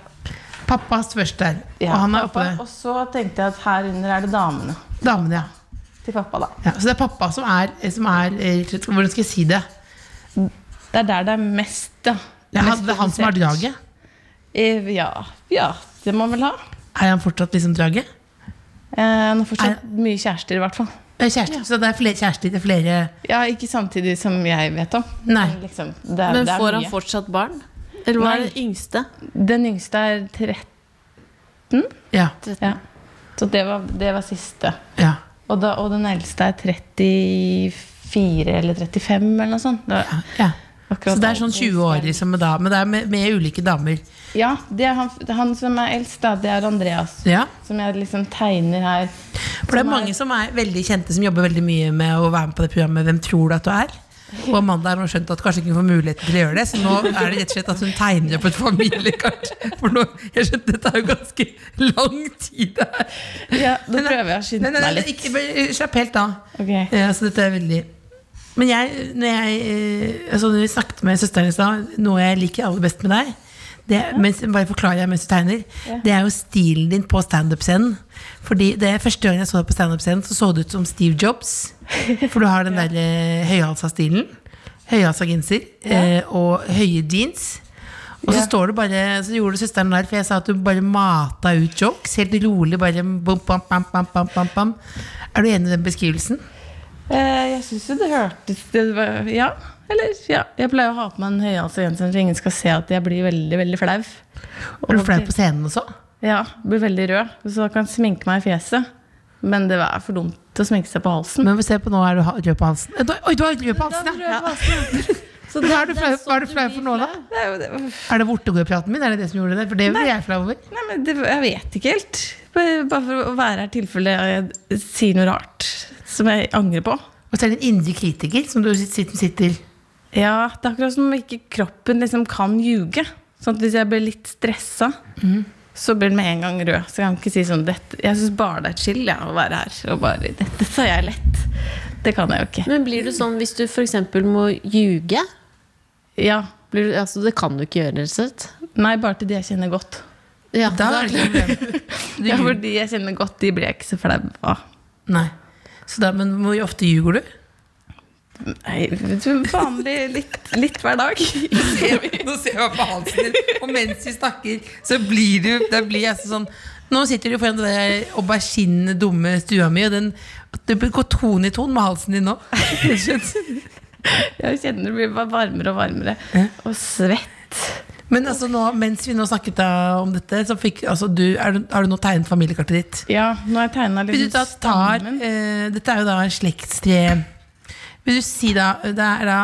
C: Pappa først der.
F: Ja,
C: Og han er oppe
F: pappa.
C: der.
F: Og så tenkte jeg at her under er det damene
C: Damene, ja.
F: til pappa, da.
C: ja. Så det er pappa som er, som er eh, Hvordan skal jeg si det?
F: Det er der det er mest, da.
C: Det er han,
F: Mest
C: det er han som har
F: produsert.
C: draget.
F: Eh, Ja, ja, det må han vel ha.
C: Er han fortsatt liksom draget?
F: Eh, Han har fortsatt
C: Er-
F: mye kjærester, i hvert fall.
C: Eh, Kjæreste, Så det er flere kjærester til flere
F: Ja, Ikke samtidig som jeg vet om.
C: Nei.
F: Men Liksom, det er,
D: Men
F: det er
D: får han
F: mye.
D: fortsatt barn? Eller hva
F: Nei.
D: er det yngste?
F: Den yngste er 13.
C: Ja.
F: Ja. Så det var, det var siste.
C: ja.
F: Og, da, og den eldste er 34 eller 35 eller noe sånt. Det var
C: ja.
F: akkurat
C: Så det er sånn
F: alt.
C: 20 år liksom, med da, men det er med, med ulike damer.
F: Ja, det er han, han som er eldst, da, det er Andreas.
C: Ja.
F: Som jeg liksom tegner her.
C: For det er mange som er veldig kjente som jobber veldig mye med å være med på det programmet Hvem tror du at du er? Og Amanda har nå skjønt at kanskje ikke hun får muligheten til å gjøre det, så nå er det rett og slett at hun tegner opp et familiekart. For nå, jeg skjønte dette er jo ganske lang tid det her.
F: Ja, da prøver jeg å skynde
C: Nei, nei,
F: meg
C: nei,
F: litt.
C: ikke- bare Slapp helt av.
F: Ok.
C: Ja, så dette er veldig Men jeg, når jeg eh, altså når vi snakket med søsteren i stad, noe jeg liker aller best med deg det, mens, bare forklarer jeg mens du tegner. Det er jo stilen din på standup-scenen. Fordi det er Første gang jeg så deg på standup-scenen, så så du ut som Steve Jobs. For du har den der eh, høyhalsa stilen. Høyhalsa genser eh, og høye jeans. Og så,
F: Ja.
C: står det bare, så gjorde søsteren der, for jeg sa at du bare mata ut jokes. Helt rolig, bare bom, bam, bam, bam, bam, bam, bam. Er du enig i den beskrivelsen?
F: Eh, jeg syns jo det hørtes det var, Ja. Eller, ja. Jeg pleier å ha på meg en høyhalsa genser så ingen skal se at jeg blir veldig veldig flau.
C: Var du flau på scenen også?
F: Ja, Blir veldig rød. Så da kan jeg sminke meg i fjeset. Men det er for dumt å sminke seg på halsen.
C: Men vi ser på nå, er du ha- rød på halsen. Eh, da- Oi, du har rød på halsen, ja!
D: Så
C: Hva er du
D: det
C: flau,
D: sånn
C: hva er du flau
D: blir
C: for nå, da?
D: flau.
F: Det er jo det.
C: Er det vortegårdpraten min? Er det det som gjorde det? For det blir jeg flau over.
F: Nei, men det, jeg vet ikke helt. Bare bare for å være her i tilfelle jeg sier noe rart som jeg angrer på.
C: Og så er det en indre kritiker som du sitter, sitter
F: Ja, det er akkurat som om ikke kroppen liksom kan ljuge. Sånn at hvis jeg blir litt stressa, Mhm. så blir den med en gang rød. Så jeg kan ikke si sånn dette, Jeg syns bare det er chill ja, å være her. Og bare, dette tar jeg lett. Det kan jeg jo ikke.
D: Men blir du sånn hvis du f.eks. må ljuge?
F: Ja.
D: Blir du, altså, det kan du ikke gjøre, rett og slett.
F: Nei, bare til de jeg kjenner godt.
D: Ja,
C: Da er det ikke noe problem.
F: Ja, for de jeg kjenner godt, de blir jeg ikke så flau av.
C: Nei. Så da, men hvor ofte ljuger du?
F: Nei, vanlig litt, litt hver dag.
C: Nå ser jeg på halsen din, og mens vi snakker, så blir du Da blir jeg sånn Nå sitter du foran den der aubergine dumme stua mi, og den Du går tone i ton med halsen din nå.
F: Jeg kjenner det blir bare varmere og varmere. Og svett.
C: Men altså nå, mens vi nå snakket da om dette, så fikk altså du er, du har du nå tegnet familiekartet ditt?
F: Ja, nå har jeg tegna
C: Hvis du
F: litt
C: da tar eh, Dette er jo da en slektstre Vil du si da, det er da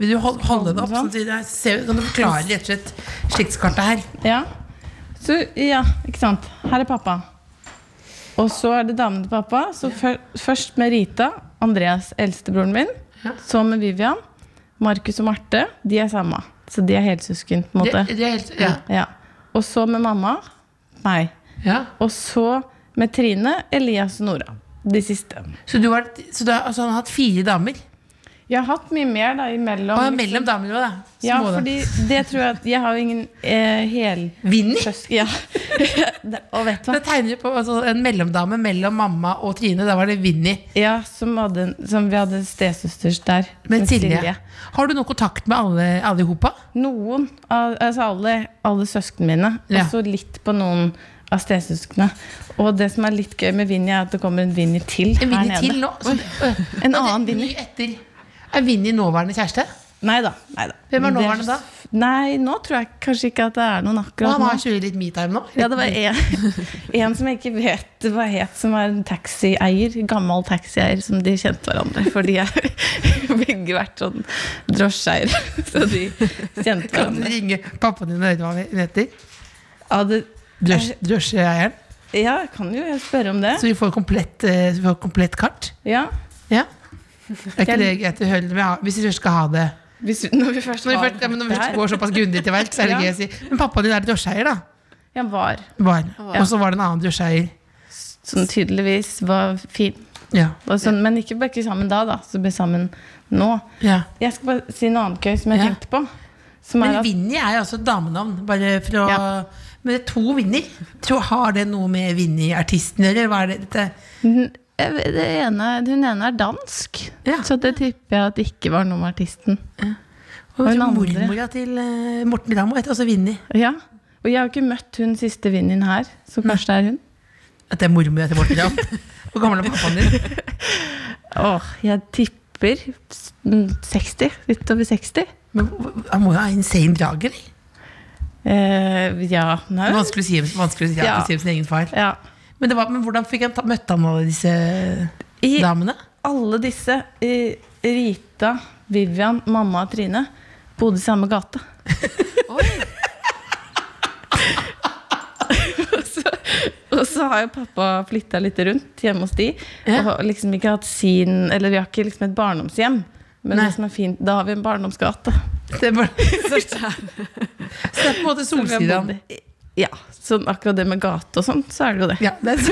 C: Vil du holde, holde det opp? Sånn, at
F: Sånn, sånn.
C: vi da ser, kan du forklare rett og slett slektskartet her?
F: Ja. Så, ja, ikke sant. Her er pappa. Og så er det damen til pappa. Så før, først med Rita, Andreas, eldstebroren min. Så med Vivian. Markus og Marte. De er samme. Så de er helsøsken, på en måte.
C: Det- det er helt, ja.
F: Ja. Og så med mamma. Meg.
C: Ja.
F: Og så med Trine, Elias og Nora. De siste.
C: Så, du har, så du har, altså, han har hatt fire damer?
F: Jeg har hatt mye mer da imellom.
C: Og
F: liksom.
C: mellom damene òg, da.
F: Ja,
C: Små, da.
F: fordi det tror jeg at Jeg har jo ingen eh, hel...
C: Vinni!
F: Søsken, ja. Det- og vet du hva?
C: Det tegner jo på altså, en mellomdame mellom mamma og Trine. Da var det Vinni.
F: Ja, som, hadde, en- som vi hadde stesøsters der.
C: Men
F: med
C: Silje, har du noe kontakt med alle, alle i hopa?
F: Noen, al- altså alle, alle søsknene mine.
C: Ja.
F: Og så litt på noen av stesøsknene. Og det som er litt gøy med Vinni, er at det kommer en Vinni til
C: En Vinni
F: her
C: til
F: nede.
C: nå? Så, øh, nå er
F: En
C: det
F: annen
C: ny
F: Vinni.
C: Etter. Er Vinni nåværende kjæreste?
F: Nei da. Nei da.
C: Hvem er
F: Det
C: nåværende da?
F: Nei, nå tror jeg kanskje ikke at det er noen
C: Og
F: akkurat
C: han
F: nå.
C: har kjørt litt metime nå?
F: Ja, det var en, en som jeg ikke vet hva het, som var en taxieier. Gammel taxieier som de kjente hverandre. For de har begge vært sånn drosjeeiere. Så de kjente
C: Kan du
F: hverandre.
C: ringe pappaen din og høre hva hun heter?
F: Ja, det,
C: Drøsj- Drosjeeieren.
F: ja, jeg kan jo spørre om det.
C: Så vi får komplett, eh, så vi får komplett kart.
F: Ja.
C: Ja. Er ikke det greit å høre det? Vi har- Hvis vi først skal ha det
F: Hvis, når vi først
C: Når vi
F: var
C: først, ja, men når vi først
F: der.
C: går såpass grundig til verks, så er det
F: Ja.
C: gøy å si Men pappaen din er drosjeeier, da.
F: Ja, var.
C: Var. Og så var det en annen drosjeeier.
F: Som tydeligvis var fin.
C: Ja.
F: Og sånn, men ikke bare ikke sammen da, da. Så ble sammen nå.
C: ja.
F: Jeg skal bare si noe annet gøy som jeg
C: Ja.
F: tenkte på. Som er
C: Men
F: at
C: Vinni er jo også et damenavn. Bare fra
F: Ja.
C: Men det er to Vinni. Tror- Har det noe med Vinni-artisten å gjøre? Hva er det? dette?
F: N- jeg vet- det ene, Hun ene er dansk,
C: Ja.
F: så det tipper jeg at det ikke var noe med artisten.
C: Og
F: Og
C: jeg
F: en
C: tror
F: andre.
C: mormora til eh, Morten Ramm heter også Vinni.
F: Ja, Og jeg har jo ikke møtt hun siste vinneren her, så kanskje det er hun.
C: At det er mormora til Morten Ramm. Hvor gammel er pappaen din?
F: Åh, jeg tipper s- mm, 60. Litt over 60.
C: Men Han må jo ha insane drag, eller?
F: Eh, ja, nei.
C: Vanskelig å si, vanskelig å si,
F: Ja.
C: si om sin egen far.
F: ja.
C: Men, det var, men hvordan fikk han ta, møtte han alle disse
F: I
C: damene?
F: alle disse, eh, Rita, Vivian, mamma og Trine, bodde i samme gate. og, så, og så har jo pappa flytta litt rundt hjemme hos de. Og har liksom ikke hatt sin Eller vi har ikke liksom et barndomshjem. Men
C: Nei.
F: det som er fint, da har vi en barndomsgate.
C: Det er bare, så det er på en måte
F: Som vi har
C: Solsidan.
F: bodd i. Ja, sånn akkurat det med gate og sånt, så er det jo det.
C: Ja, det er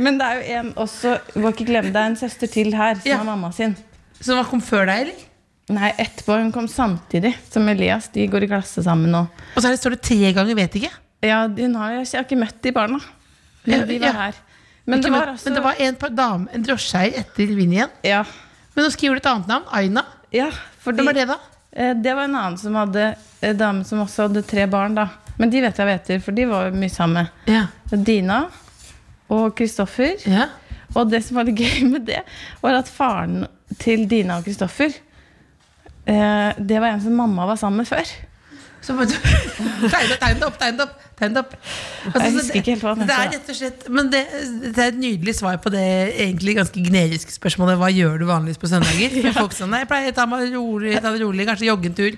F: Men det er jo en også, må ikke glemme, det er en søster til her, som
C: Ja.
F: er mamma sin.
C: Som han kom før deg, eller?
F: Nei, etterpå. Hun kom samtidig som Elias. De går i klasse sammen nå.
C: Og så er det, står det tre ganger 'vet ikke'.
F: Ja, hun har, jeg har ikke møtt de barna. Men de var
C: Ja.
F: her. Men det
C: Ikke
F: var altså-
C: møtt-
F: også
C: men det var en, par dame, en drosjeeier etter Vinni igjen.
F: Ja,
C: Men nå skriver du et annet navn. Aina.
F: ja fordi
C: Hvem er det, da?
F: Eh, det var en annen som hadde eh, dame som også hadde tre barn, da. Men de vet jeg vet, for de var jo mye sammen.
C: Ja.
F: Dina og Kristoffer.
C: ja.
F: Og det som var litt gøy med det, var at faren til Dina og Kristoffer eh, Det var en som mamma var sammen med før.
C: Så bare Tegn det- tegn det opp, tegn det opp. Tegn det opp. Altså,
F: Jeg
C: så
F: husker
C: det-
F: ikke helt hva den
C: det er
F: heter, da.
C: rett og slett Men det, det er et nydelig svar på det egentlig ganske generiske spørsmålet Hva gjør du vanligvis på søndager? For folk sånn, nei, jeg pleier å ta meg rolig, ta det rolig kanskje joggentur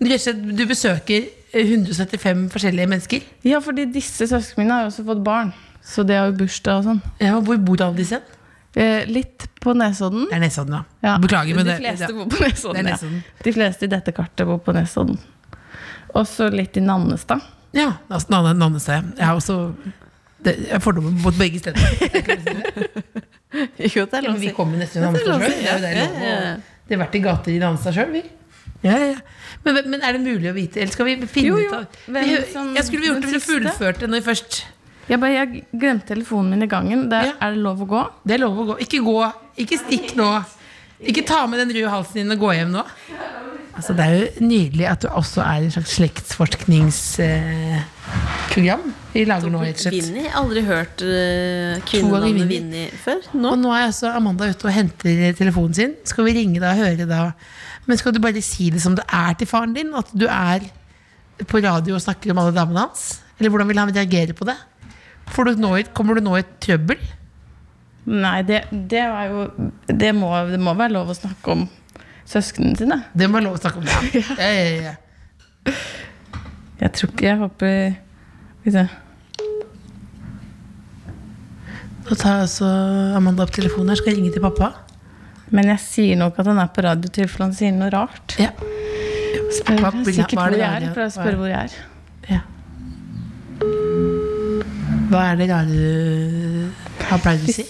C: Men rett og slett, Du besøker eh, 175 forskjellige mennesker
F: Ja, fordi disse søsknene mine har jo også fått barn. Så de har jo bursdag og sånn.
C: ja, og Hvor bor alle disse?
F: Eh, litt på Nesodden.
C: Det er Nesodden da
F: Ja.
C: Beklager, men
F: de
C: det,
F: fleste
C: det,
F: bor på
C: det er
F: Nesodden.
C: Nesodden.
F: Ja. De fleste i dette kartet bor på Nesodden. Og så litt i Nannestad.
C: Ja, altså, Nanne, Nanne sa jeg Jeg har også det, jeg har fordommer mot begge steder
D: Jo, det er lov å
C: Vi
D: si.
C: kommer nesten til Nannestad selv Det er jo der lov å-
D: Ja, ja.
C: Det har vært i gater i Nanstad sjøl, vi. Ja, ja. Men, men er det mulig å vite? Eller skal vi finne
F: Jo, jo.
C: ut av
F: Hvem
C: vi,
F: som-
C: Jeg skulle vi gjort
F: den
C: det hvis vi
F: siste?
C: fullførte det når vi først
F: Jeg, bare, jeg glemte telefonen min i gangen. Der
C: Ja.
F: er det lov å gå.
C: Det er lov å gå. Ikke gå. Ikke stikk nå. Ikke ta med den røde halsen din og gå hjem nå. Altså, det er jo nydelig at du også er en slags slektsforskningsprogram. Eh, program vi lager nå, rett og slett.
D: Vinni? Aldri hørt eh,
C: To ganger
D: kvinnenavnet
C: Vinni.
D: Vinni før? Nå?
C: Og nå er altså Amanda ute og henter telefonen sin. Skal vi ringe da og høre da? Men skal du bare si det som det er til faren din? At du er på radio og snakker om alle damene hans? Eller hvordan vil han reagere på det? Får du nå, i- kommer du nå i trøbbel?
F: Nei, det, det var jo det må, det må være lov å snakke om søsknene sine.
C: Det må være lov å snakke om. Ja. Ja, ja, ja.
F: Jeg tror ikke Jeg håper Skal vi se.
C: Nå tar altså Amanda opp telefonen her. Skal jeg ringe til pappa?
F: Men jeg sier nok at han er på radio i tilfelle han sier noe rart.
C: Ja.
F: Spør
C: Hva-
F: sikkert
C: hva er
F: hvor
C: det
F: jeg
C: der,
F: er.
C: ja?
F: Prøver å
C: Hva er-
F: spørre hvor jeg er.
C: ja. Hva er det rare du har pleid å si?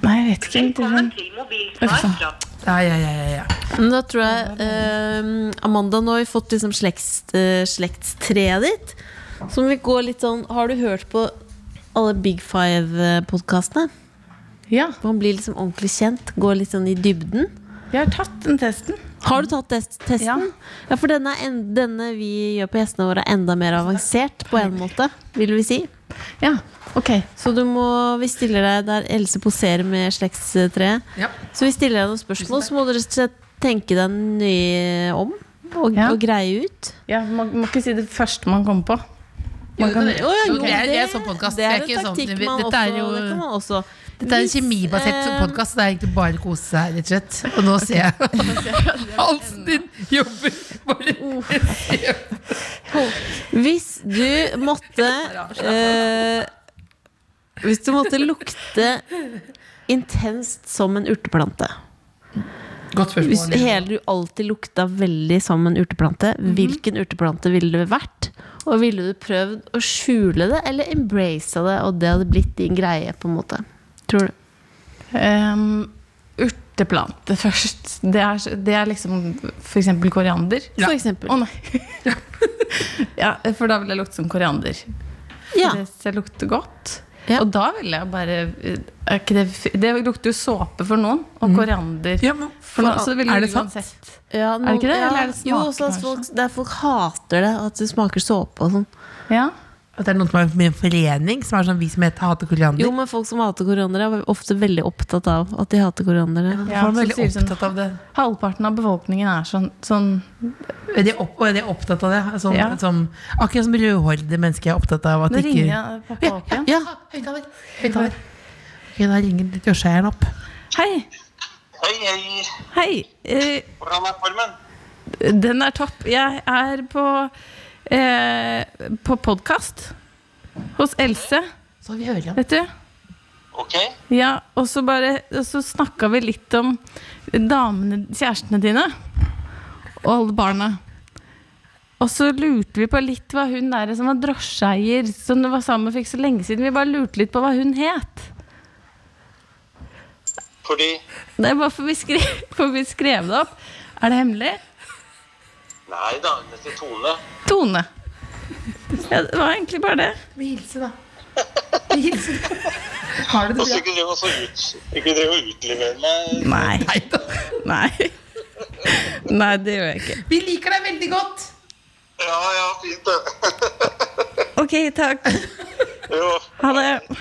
F: Nei, jeg vet ikke.
E: Velkommen
F: Velkommen.
E: til mobilsvar fra
C: Ja, ja, ja, ja, ja.
D: Men da tror jeg eh, Amanda, nå har vi fått liksom slekts, eh, slektstreet ditt. Så må vi gå litt sånn Har du hørt på alle Big Five-podkastene?
F: Ja.
D: Man blir liksom ordentlig kjent, går litt sånn i dybden.
F: Jeg har tatt den testen.
D: Har du tatt test testen? Ja,
F: Ja.
D: for denne, er en- denne vi gjør på gjestene våre, er enda mer avansert på en måte, vil vi si.
F: Ja, ok.
D: Så du må, vi stiller deg der Else poserer med slektstreet.
C: Ja.
D: Så vi stiller deg noen spørsmål, så må du rett og slett tenke deg nøye om og,
F: Ja.
D: og greie ut.
F: Ja, man må ikke si det første man kommer på. Man kan,
D: Å, ja, jo,
C: Ok, jeg- jeg er sånn podcast.
D: det er
C: Det er
D: en
C: ikke sånn-
D: taktikk
C: det-
D: man
C: dette
D: også,
C: er jo-
D: det kan man også.
C: Dette er en
D: Hvis,
C: kjemibasert
D: eh,
C: podkast, så det er egentlig bare å kose seg, rett og slett. Og nå ser jeg halsen din jobber bare
D: Hvis du måtte eh, Hvis du måtte lukte intenst som en urteplante
C: Godt
D: Hvis
C: spørsmål.
D: hele du alltid lukta veldig som en urteplante,
F: Mhm.
D: hvilken urteplante ville det vært? Og ville du prøvd å skjule det, eller embrace det, og det hadde blitt din greie? på en måte Tror du?
F: Ehm, urteplante først. Det er, så- det er liksom f.eks. koriander.
D: For eksempel.
F: Å nei. ja, for da vil jeg lukte som koriander.
D: Ja.
F: Det synes jeg lukter godt.
D: Ja.
F: Og da vil jeg bare eh, er ikke det, f- det lukter jo såpe for noen, og koriander
C: Mm. Ja, men
F: for noen. Så det vil
C: er
F: jo
C: det sant?
F: uansett.
D: Ja,
F: det ikke det?
D: ja,
F: Eller er det smak,
D: jo, også at
F: kanskje?
D: folk, der folk hater det, at det smaker såpe og sånn.
F: Ja.
C: At det er noen som er med i en forening som er sånn vi som heter Hate koriander?
D: Jo, men folk som hater koriander, er ofte veldig opptatt av at de hater koriander.
F: Ja,
C: Folk er
F: så
C: veldig
F: sier de sånn-
C: opptatt av det.
F: Halvparten av befolkningen er sånn, sånn
C: Er de, opp, og er de opptatt av det? Sånn,
F: Ja.
C: som, akkurat som rødhårede mennesker er opptatt av at
F: Nå
C: det
F: ringer
C: ikke
F: jeg pappa opp igjen.
D: Ja,
C: Høyttaler. Høyttaler. Ok, da ringer drosjeeieren opp.
F: Hei!
G: Hei, hei.
F: Hei! Eh,
G: Hvordan er formen?
F: Den er topp. Jeg er på, eh, på podkast hos Else,
C: Så vi hører han.
F: vet du.
G: Ok.
F: Ja, og så bare Og så snakka vi litt om damene, kjærestene dine og alle barna. Og så lurte vi på litt hva hun der som var drosjeeier, som du var sammen med for ikke så lenge siden. Vi bare lurte litt på hva hun het.
G: Fordi
F: Det er bare for vi skrev, for vi skrev det opp. Er det hemmelig?
G: Nei da, hun heter Tone.
F: Tone. Ja, det var egentlig bare det.
C: Vi hilser, da. Vi hilser. Har du det
G: Og så
C: bra?
G: ikke drive og så ut- ikke drive og utlevere meg.
F: Nei.
C: Nei da.
F: Nei. Nei, det gjør jeg ikke.
C: Vi liker deg veldig godt.
G: Ja, ja, fint det.
F: Ok, takk.
G: Jo.
F: Ha det.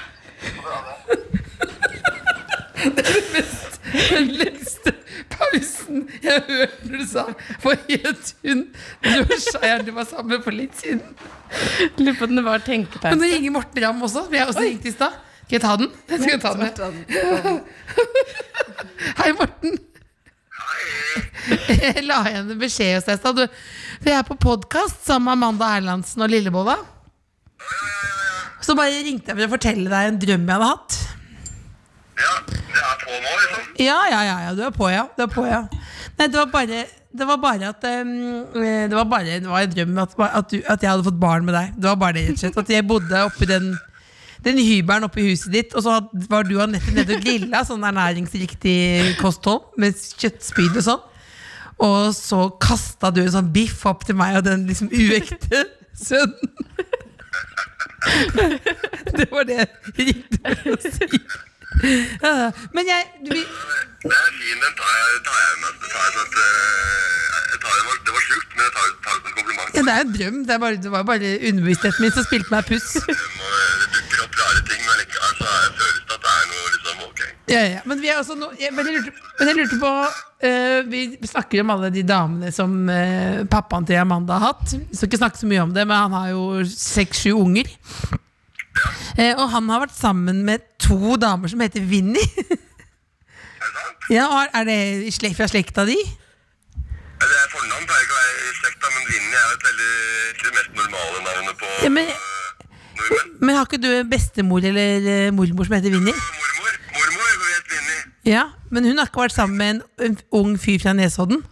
C: Den lengste pausen jeg hørte du sa, var helt hun drosjeeieren du var sammen med for litt siden.
F: Lurer på om det var
C: Men
F: tenkepause.
C: nå ringer Morten Ramm også, som jeg også ringte i stad. Skal jeg ta den? Jeg skal ta den. Hei, Morten. Jeg la igjen en beskjed hos deg i stad. Du- Vi er på podkast sammen med Amanda Erlandsen og Lillebolla. Så bare ringte jeg for å fortelle deg en drøm jeg hadde hatt.
G: Ja, det er på nå, liksom.
C: Ja, ja, ja, ja, du er på, ja. Du er på, ja. Nei, det var bare, det var bare at ehm, eh, Det var bare det var en drøm at, at, du, at jeg hadde fått barn med deg. Det var bare det, rett og slett. At jeg bodde oppi den, den hybelen oppi huset ditt, og så had- var du og Anette nede og grilla sånn ernæringsriktig kosthold med kjøttspyd og sånn. Og så kasta du en sånn biff opp til meg og den liksom uekte sønnen. Det var det jeg ringte for å si. Ja, ja. Men jeg du, vi-
G: Det er fin, den tar jeg, tar jeg med. Tar jeg, med, eh, jeg tar, det, var, det var sjukt, men jeg tar, tar det som kompliment.
C: Ja, det er en drøm. Det, er bare, det var bare underbevisstheten min som spilte meg puss.
G: Det dukker opp rare ting, men likevel så føles det at det er noe liksom ok.
C: Ja, ja. Men, vi er også nå- jeg, men, jeg lurte, men jeg lurte på eh, Vi snakker om alle de damene som eh, pappaen til Amanda har hatt. Vi skal ikke snakke så mye om det, men han har jo seks-sju unger. Eh, og han har vært sammen med to damer som heter Vinni. ja, og er det i slekt- fra slekta di?
G: Det er fornavn, pleier ikke å være i slekta, men Vinni er jo et veldig, ikke det mest normale navnet på
C: Ja, men,
G: nordmenn.
C: men har ikke du en bestemor eller eh, mormor som heter Vinni?
G: Mormor, mormor, hun het Vinni.
C: Ja, Men hun har ikke vært sammen med en, en ung fyr fra Nesodden?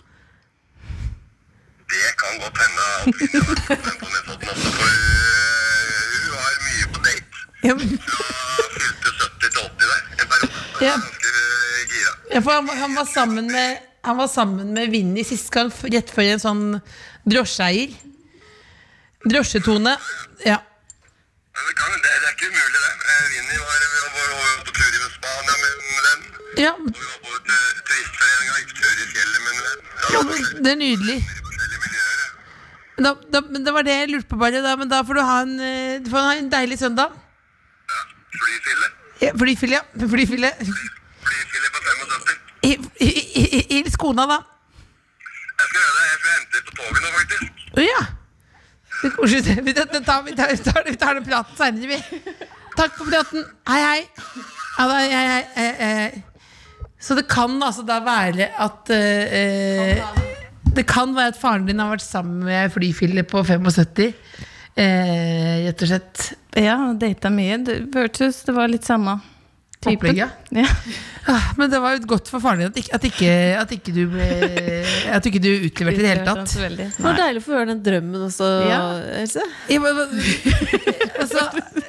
G: Det kan godt hende. at vi skal være på den måten også, for, øh, Hun var mye på date.
C: Ja, men,
G: Hun Fylte 70 til 80 der en periode.
C: ja.
G: Ganske øh, gira.
C: Ja, for han, han var sammen med Han var sammen med Vinni sist gang, f- rett før en sånn drosjeeier. Drosjetone. Ja.
G: Men det, kan, det, det er ikke umulig, det. Eh, Vinni var, vi var, var, var på tur i Spania med en venn.
C: ja.
G: Og vi var på eh, turistforeninga, gikk tur i
C: men det er nydelig. Da, da, men det var det jeg lurte på, bare. Da, men da får du ha en, eh, du får ha en deilig søndag.
G: Flyfille.
C: Ja, Flyfille, ja. Flyfille.
G: Flyfille på 75.
C: I- i- i- i- Hils kona, da.
G: Jeg skal gjøre det. Jeg skal hente på toget nå, faktisk.
C: Å ja. Det er koselig. Vi, det- det tar, vi, tar, vi, tar, vi tar den praten seinere, vi. Takk for praten. Hei, hei. Ja, da, hei, hei, hei, hei. Så det kan altså da være at eh, eh, Det kan være at faren din har vært sammen med flyfille på 75, eh, rett og slett.
F: Ja, data mye. Det hørtes det var litt samme typen.
C: Opplegget?
F: Ja.
C: Ah, Men det var jo godt for faren din at ikke, at ikke, at ikke du ble At ikke du utleverte i det hele tatt.
F: Det hørtes
D: Det
F: veldig-
D: var deilig å få høre den drømmen også,
F: Ja.
D: Else.
C: Ja, men- men- altså,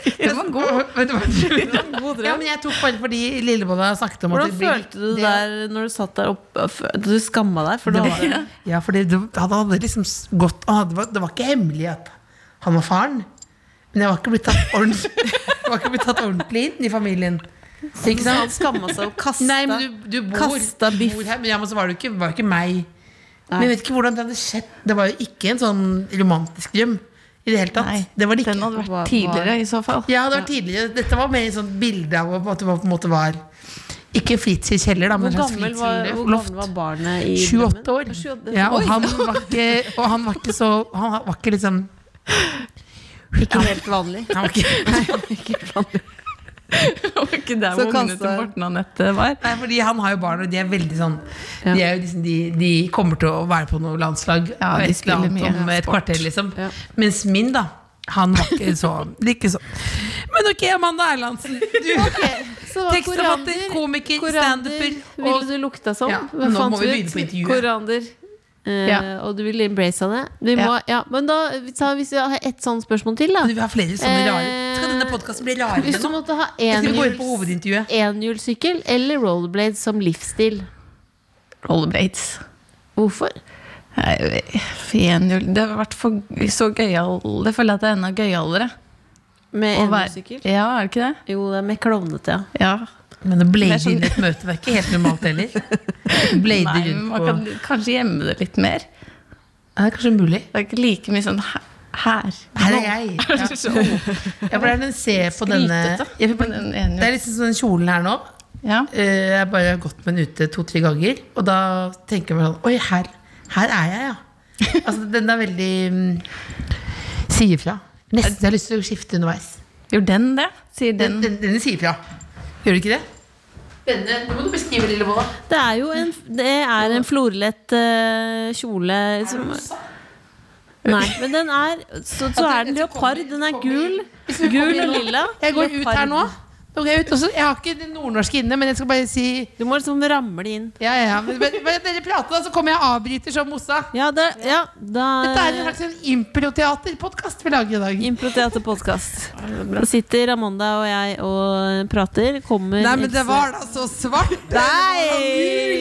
C: det var god. Vet du hva? Ja, men jeg tok bare fordi Lillebolla snakket om at
D: Hvordan
C: det blir-
D: følte du
C: det-
D: det der når du satt der oppe? Du skamma deg? For
C: Det
D: det
C: var, ja, for det, det- han hadde liksom s- gått han hadde, det var- Det var ikke hemmelig at han var faren, men jeg var ikke blitt tatt ordentlig, jeg var ikke blitt tatt ordentlig inn i familien. Ikke
D: han
C: sant?
D: skamma seg og kasta
C: Nei, men du, du bor,
D: Kasta biff.
C: bor her, men ja, men så var det jo ikke, var det ikke meg. Men jeg vet ikke hvordan det hadde skjedd. Det var jo ikke en sånn romantisk drøm i det hele tatt.
F: Nei,
C: det var det ikke.
F: Den hadde
D: Hva-
F: vært tidligere i så fall.
C: Ja, det var tidligere. Dette var mer et sånt bilde av at det var, på en måte var Ikke Fritz' kjeller, da, men en
D: Hvor
C: slags
D: gammel var,
C: Fritz'
D: hvor
C: loft.
D: gammel var barnet i
C: 28 år.
D: drømmen? 28.
C: Ja, og
D: Oi.
C: han var ikke, og han var ikke så Han var ikke liksom
D: Ikke helt vanlig.
C: han var ikke,
F: Det var ikke der
D: Så
F: hvor ungene
D: kastet-
F: til Morten og Anette var.
C: nei, fordi han har jo barn, og de er veldig sånn
D: Ja.
C: De, er jo liksom, de, de kommer til å være på noe landslag
F: Ja,
C: og
F: de
C: et eller
F: spiller
C: annet
F: mye
C: om et
F: sport.
C: kvarter, liksom.
D: Ja.
C: Mens min, da, han var ikke så Ikke sånn. Men ok, Amanda Erlandsen. Du
D: Så det var
C: tekstforfatter,
D: korander.
C: komiker,
D: Korander
C: standuper
D: ville
C: og
D: du lukta som.
C: Ja,
D: Hva
C: nå
D: fant
C: må vi
D: ut?
C: begynne på intervjuet.
D: Korander. Eh,
F: Ja.
D: Og du ville embrace det. Vi må, ja.
F: Ja.
D: men da, så hvis vi har ett sånt spørsmål til, da.
C: Du vil ha flere sånne
D: Eh,
C: rare Skal denne podkasten bli rarere
D: Hvis du
C: nå?
D: måtte ha
C: Jeg skal vi gå inn
D: enhjuls-
C: på hovedintervjuet.
D: enhjulssykkel eller rollerblade som livsstil?
F: Rollerblades.
D: Hvorfor?
F: Nei, Enhjul Det har vært for, så gøyal Det føler jeg at det er enda gøyalere.
D: Med
F: å være-
D: enhjulssykkel?
F: Ja, er det ikke det?
D: Jo, det er med klovnete, ja.
F: Ja.
C: Men å blade
F: Det er sånn-
C: inn i et møte, det er ikke helt normalt heller. Blade
F: Nei, men
C: rundt
F: man
C: på
F: kan kanskje gjemme det litt mer.
C: Det er kanskje umulig.
F: Det er ikke like mye sånn hæ- her.
C: Her er jeg. Ja,
F: Så
C: Ja, for det er den se på denne
F: Skrytete.
C: Jeg vil bare-
F: Men den
C: Det er
F: enhjul-
C: liksom sånn den kjolen her nå.
F: Ja.
C: eh, Jeg bare har gått med den ute to-tre ganger, og da tenker jeg meg sånn Oi, her, her er jeg, ja. Altså, den er veldig mm, Sier fra. Nesten jeg har lyst til å skifte underveis.
F: Gjorde den det? Sier
C: Den,
F: den
C: den, denne sier fra. Gjør du ikke det? Denne, nå må du beskrive Lillebolla.
D: Det er jo en, det er en florlett eh, kjole som Nei, men den er Så, så er den leopard. Den er gul. Gul og lilla.
C: Jeg går ut her nå.
D: Leopard.
C: Nå går jeg ut, og så- Jeg har ikke det nordnorske inne, men jeg skal bare si
D: Du må liksom ramle inn.
C: Ja, ja, ja. Men, men, men dere prater, da, så kommer jeg og avbryter som Mossa.
D: Ja, det, ja da
C: Dette er en slags sånn improteaterpodkast vi lager i dag.
D: Improteaterpodkast. Da sitter Amanda og jeg og prater. Kommer
C: Nei, men det
D: Else-
C: var da så svart! Det var da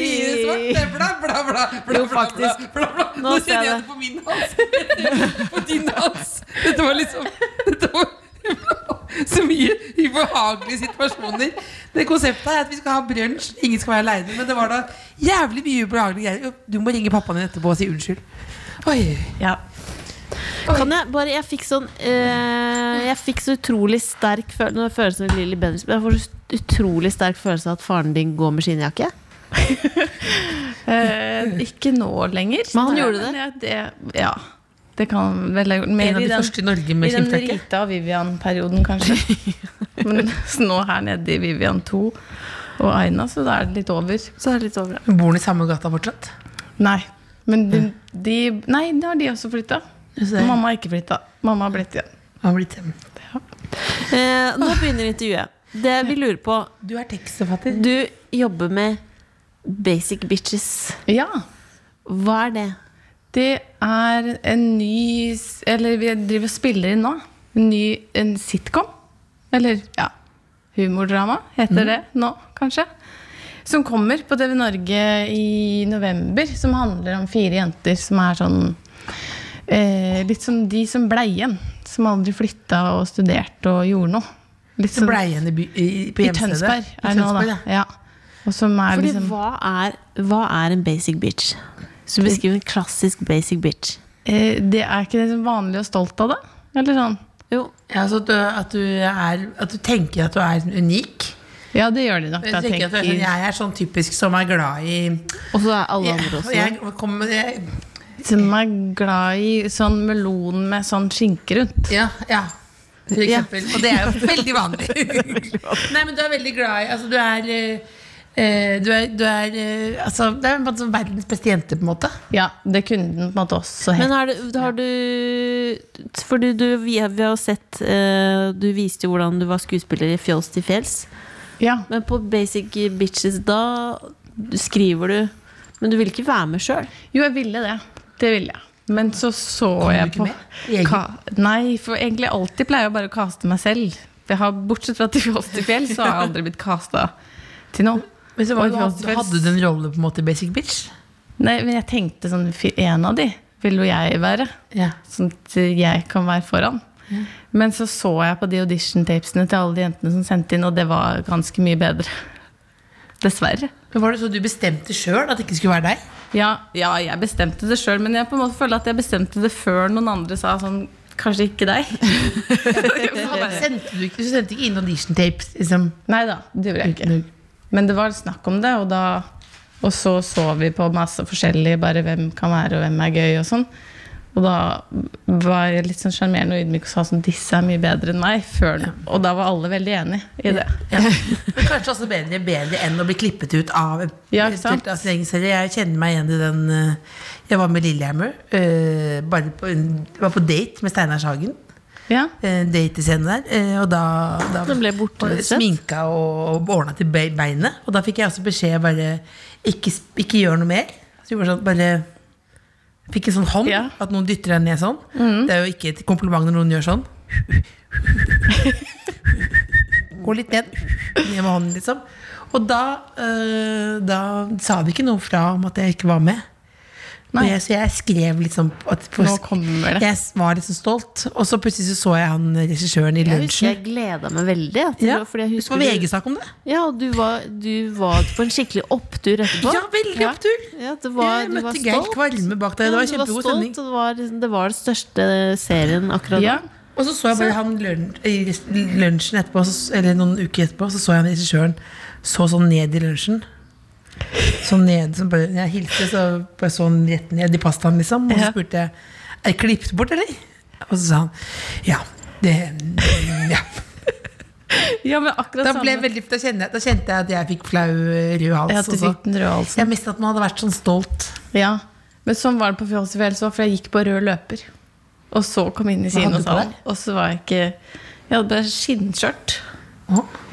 C: mulig svart, det. Bla, bla, bla. bla,
D: Jo,
C: bla, bla,
D: faktisk.
C: bla, bla.
D: Nå
C: Nå
D: ser
C: kjenner
D: jeg
C: jeg
D: det.
C: det på min hals. På din hals. Dette var liksom Dette var så mye ubehagelige situasjoner. Det konseptet er at vi skal ha brunsj, ingen skal være aleine. Men det var da jævlig mye ubehagelige greier. Du må ringe pappaen din etterpå og si unnskyld. Oi.
F: Ja.
D: Kan jeg bare Jeg fikk sånn eh, Jeg fikk så utrolig sterk følelse Nå er følelsen av Lilly Bendriss Jeg får så utrolig sterk følelse av at faren din går med skinnjakke.
F: Eh, ikke nå lenger.
D: Men han
F: Nei,
D: gjorde det?
F: men jeg- det ja. Det kan vel ha gjort Mer i den,
C: i Norge
F: i den Rita og Vivian-perioden, kanskje. Men så nå her nede i Vivian 2 og Aina, så da er det litt over.
D: Så er det litt over.
C: Bor han i samme gata fortsatt?
F: Nei. Men de, de Nei, da har de også flytta.
C: ser.
F: Mamma har ikke flytta. Mamma har blitt igjen.
C: Han har blitt hjem.
D: Eh, nå begynner intervjuet. Det vi lurer på
C: Du er tekstforfatter.
D: Du jobber med basic bitches.
F: Ja.
D: Hva er det?
F: Det er en ny s- Eller vi driver og spiller inn nå. En ny en sitcom. Eller ja, humordrama heter
C: Mhm.
F: det nå, kanskje. Som kommer på TV Norge i november. Som handler om fire jenter som er sånn eh, Litt som de som blei igjen. Som aldri flytta og studerte og gjorde noe. Litt
C: Så
F: sånn-
C: blei igjen i, by, i, på
F: i
C: hjemstedet.
F: Tønsberg.
C: I
F: Er det nå,
C: Tønsberg,
F: da.
C: ja.
F: Ja. Og som er
D: Fordi
F: liksom
D: hva er, hva er en basic bitch? Hvis du beskriver en klassisk basic bitch.
F: Eh, Det er ikke det som er vanlig og stolt av det? Eller sånn?
D: Jo.
C: Ja, altså at, du, at, du er, at du tenker at du er unik.
F: Ja, det gjør de nok.
C: Jeg,
F: Da,
C: tenker at du er sånn,
F: tenker-
C: jeg er sånn typisk som er glad i
D: Og så er alle
C: jeg,
D: andre også
C: og jeg, kommer, jeg,
F: Som er glad i sånn melon med sånn skinke rundt.
C: Ja, ja. For
D: Ja.
C: eksempel. Og det er jo veldig vanlig. Nei, men du er veldig glad i Altså, du er eh, eh, du er, du er eh, altså, Det er på en måte sånn verdens beste jente, på en måte.
F: Ja, det kunne den på en måte også
D: Men
F: hett.
D: har du, har du Fordi du, vi, har- vi har jo sett eh, Du viste jo hvordan du var skuespiller i Fjols til fjells.
F: Ja.
D: Men på Basic Bitches da skriver du Men du vil ikke være med sjøl.
F: Jo, jeg ville det. Det ville jeg. Men så så jeg
C: ikke
F: på
C: med? I egen-
F: Ka Nei, for egentlig alltid pleier jeg bare å kaste meg selv. Jeg har, bortsett fra til Fjols til fjell, så har jeg aldri blitt kasta til noe.
C: Men så var,
F: var det
C: du,
F: Fjols til fjells.
C: hadde du en rolle på en måte i Basic Bitch?
F: Nei, men jeg tenkte sånn "Fy, En av de vil jo jeg være.
C: Ja.
F: Sånn at jeg kan være foran. Men så så jeg på de audition-tapesene til alle de jentene som sendte inn, og det var ganske mye bedre. Dessverre.
C: Men Var det så du bestemte sjøl at det ikke skulle være deg?
F: Ja, ja jeg bestemte det sjøl, men jeg på en måte føler at jeg bestemte det før noen andre sa sånn Kanskje ikke deg.
C: Sendte du, ikke, du sendte ikke inn audition-tapes? Liksom.
F: Nei da, det gjorde jeg ikke. Men det var snakk om det, og da Og så så vi på masse forskjellig, bare hvem kan være og hvem er gøy og sånn. Og da var jeg litt sånn sjarmerende og ydmyk og sa sånn Disse er mye bedre enn meg. Før, og da var alle veldig enig i det.
C: Men kanskje også bedre, bedre enn å bli klippet ut av,
F: Ja, ikke sant?
C: av sin egen serie. Jeg kjenner meg igjen i den eh, Jeg var med Lillehammer. eh, bare på, var på date med Steinar Sagen.
F: Ja.
C: eh, date i scenen der. eh, Og da, da
D: Den ble borte,
C: og
D: rett og slett.
C: Sminka og, og ordna til be- beinet. Og da fikk jeg også beskjed bare ikke, sp- ikke gjør noe mer. Så jeg bare sånn, bare Fikk en sånn hånd.
F: Ja.
C: At noen dytter deg ned sånn.
D: Mhm.
C: Det er jo ikke et kompliment når noen gjør sånn. Gå litt ned. Ned med hånden, liksom. Og da, eh, da sa de ikke noe fra om at jeg ikke var med. Og Jeg, så jeg skrev liksom at på,
F: Nå kommer det.
C: jeg var litt så stolt, og så plutselig så, så jeg han regissøren i
D: Jeg husker
C: lunsjen.
D: jeg gleda meg veldig. ja, til
C: Ja,
D: å- fordi jeg
C: det
D: husker
C: var
D: du-
C: VG-sak om det.
D: Ja, og du var, du var på en skikkelig opptur etterpå.
C: Ja, veldig opptur.
D: Ja, det var,
C: jeg
D: du var
C: møtte Geir
D: stolt.
C: Kvalme bak deg. Det
D: Ja,
C: var
D: du
C: kjempegod
D: stolt,
C: stemning.
D: og Det var, liksom- det var den største serien akkurat
F: ja.
D: da.
C: Og så så jeg bare han lun i rest- lunsjen etterpå, så, eller noen uker etterpå, så så jeg han regissøren så sånn ned i lunsjen. Sånn ned, så bare, jeg hilste, så bare så han rett ned i pastaen, liksom. Og så spurte jeg er det klippet bort, eller? Og så sa han ja. Det, ja.
F: ja, men akkurat
C: Da, ble jeg
F: samme.
C: veldig, da, kjente jeg, da kjente jeg at jeg fikk flau eh, rød hals.
F: Ja, at du
C: også.
F: fikk den røde halsen.
C: Jeg mistet at man hadde vært sånn stolt.
F: Ja. Men sånn var det på Fjols til fjells òg, for jeg gikk på rød løper. Og så kom jeg inn i
C: hadde du på
F: kinosalen, og så var jeg ikke Jeg hadde bare skinnskjørt.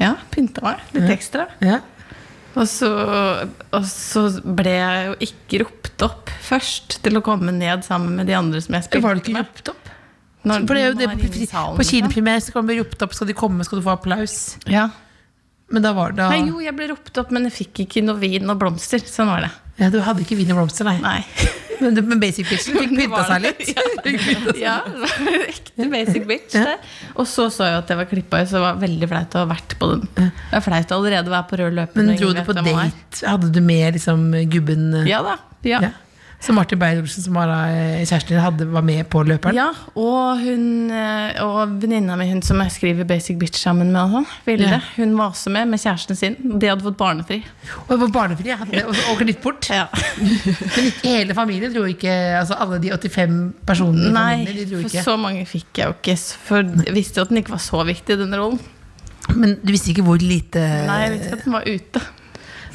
F: Ja, pynta meg litt ekstra.
C: Ja.
F: Og så, og så ble jeg jo ikke ropt opp først til å komme ned sammen med de andre som jeg spilte
C: Var du ikke
F: med.
C: ropt opp?
F: Når
C: For det er jo
F: den
C: det
F: var
C: på,
F: inne i salen,
C: på
F: liksom.
C: kinopremiere så kan du bli ropt opp, skal de komme, skal du få applaus.
F: Ja.
C: Men da var det da
F: Nei, jo, jeg ble ropt opp, men jeg fikk ikke noe vin og blomster. Sånn var det.
C: ja, Du hadde ikke vin og blomster, nei.
F: Nei.
C: Men, du- men Basic Bitchen fikk
F: Det
C: pynta
F: var
C: seg
F: det.
C: litt. Fikk pynta seg.
F: Ja, ekte basic bitch der. Og så så jeg at jeg var klippa i, så det var veldig flaut å ha vært på den. Det er flaut allerede å være på rød løper.
C: Men
F: når
C: dro du
F: ingen vet
C: på
F: hvem man er.
C: date? Hadde du med liksom gubben eh,
F: Ja da. Ja.
C: ja. Så Martin Beyer-Olsen, som var eh, kjæresten din, hadde, var med på løperen?
F: Ja, og hun eh, og venninna mi, hun som jeg skriver Basic Bitch sammen med, og sånn, Vilde,
C: Ja.
F: hun var også med med kjæresten sin. De hadde fått barnefri.
C: Og jeg var barnefri, jeg hadde, og, og litt bort. Men ikke hele familien dro ikke altså Alle de 85 personene i
F: Nei,
C: familien, de dro
F: for
C: ikke.
F: så mange fikk jeg jo ikke. s- For jeg visste jo at den ikke var så viktig, den rollen.
C: Men du visste ikke hvor lite
F: Nei, jeg visste at den var ute.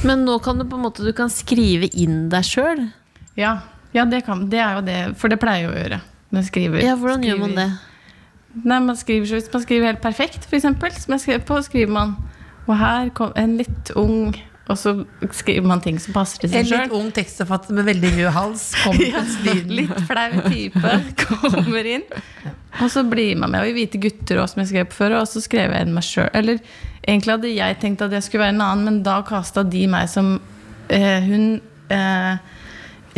D: Men nå kan du på en måte du kan skrive inn deg sjøl.
F: Ja, ja det, kan, det er jo det, for det pleier jeg å gjøre. Når jeg skriver,
D: Ja, hvordan gjør
F: skriver-
D: man det?
F: Nei, man skriver, så Hvis man skriver helt perfekt, for eksempel, som jeg skrev på, skriver man Og her kom en litt ung Og så skriver man ting som passer til
C: En
F: seg
C: litt
F: sjøl.
C: ung tekstforfatter med veldig rød hals kom plutselig inn.
F: Litt flau type kommer inn. Og så blir man med. Og i Hvite gutter også, som jeg skrev på før. Og så skrev jeg en meg sjøl. Eller egentlig hadde jeg tenkt at jeg skulle være en annen, men da kasta de meg som eh, hun eh,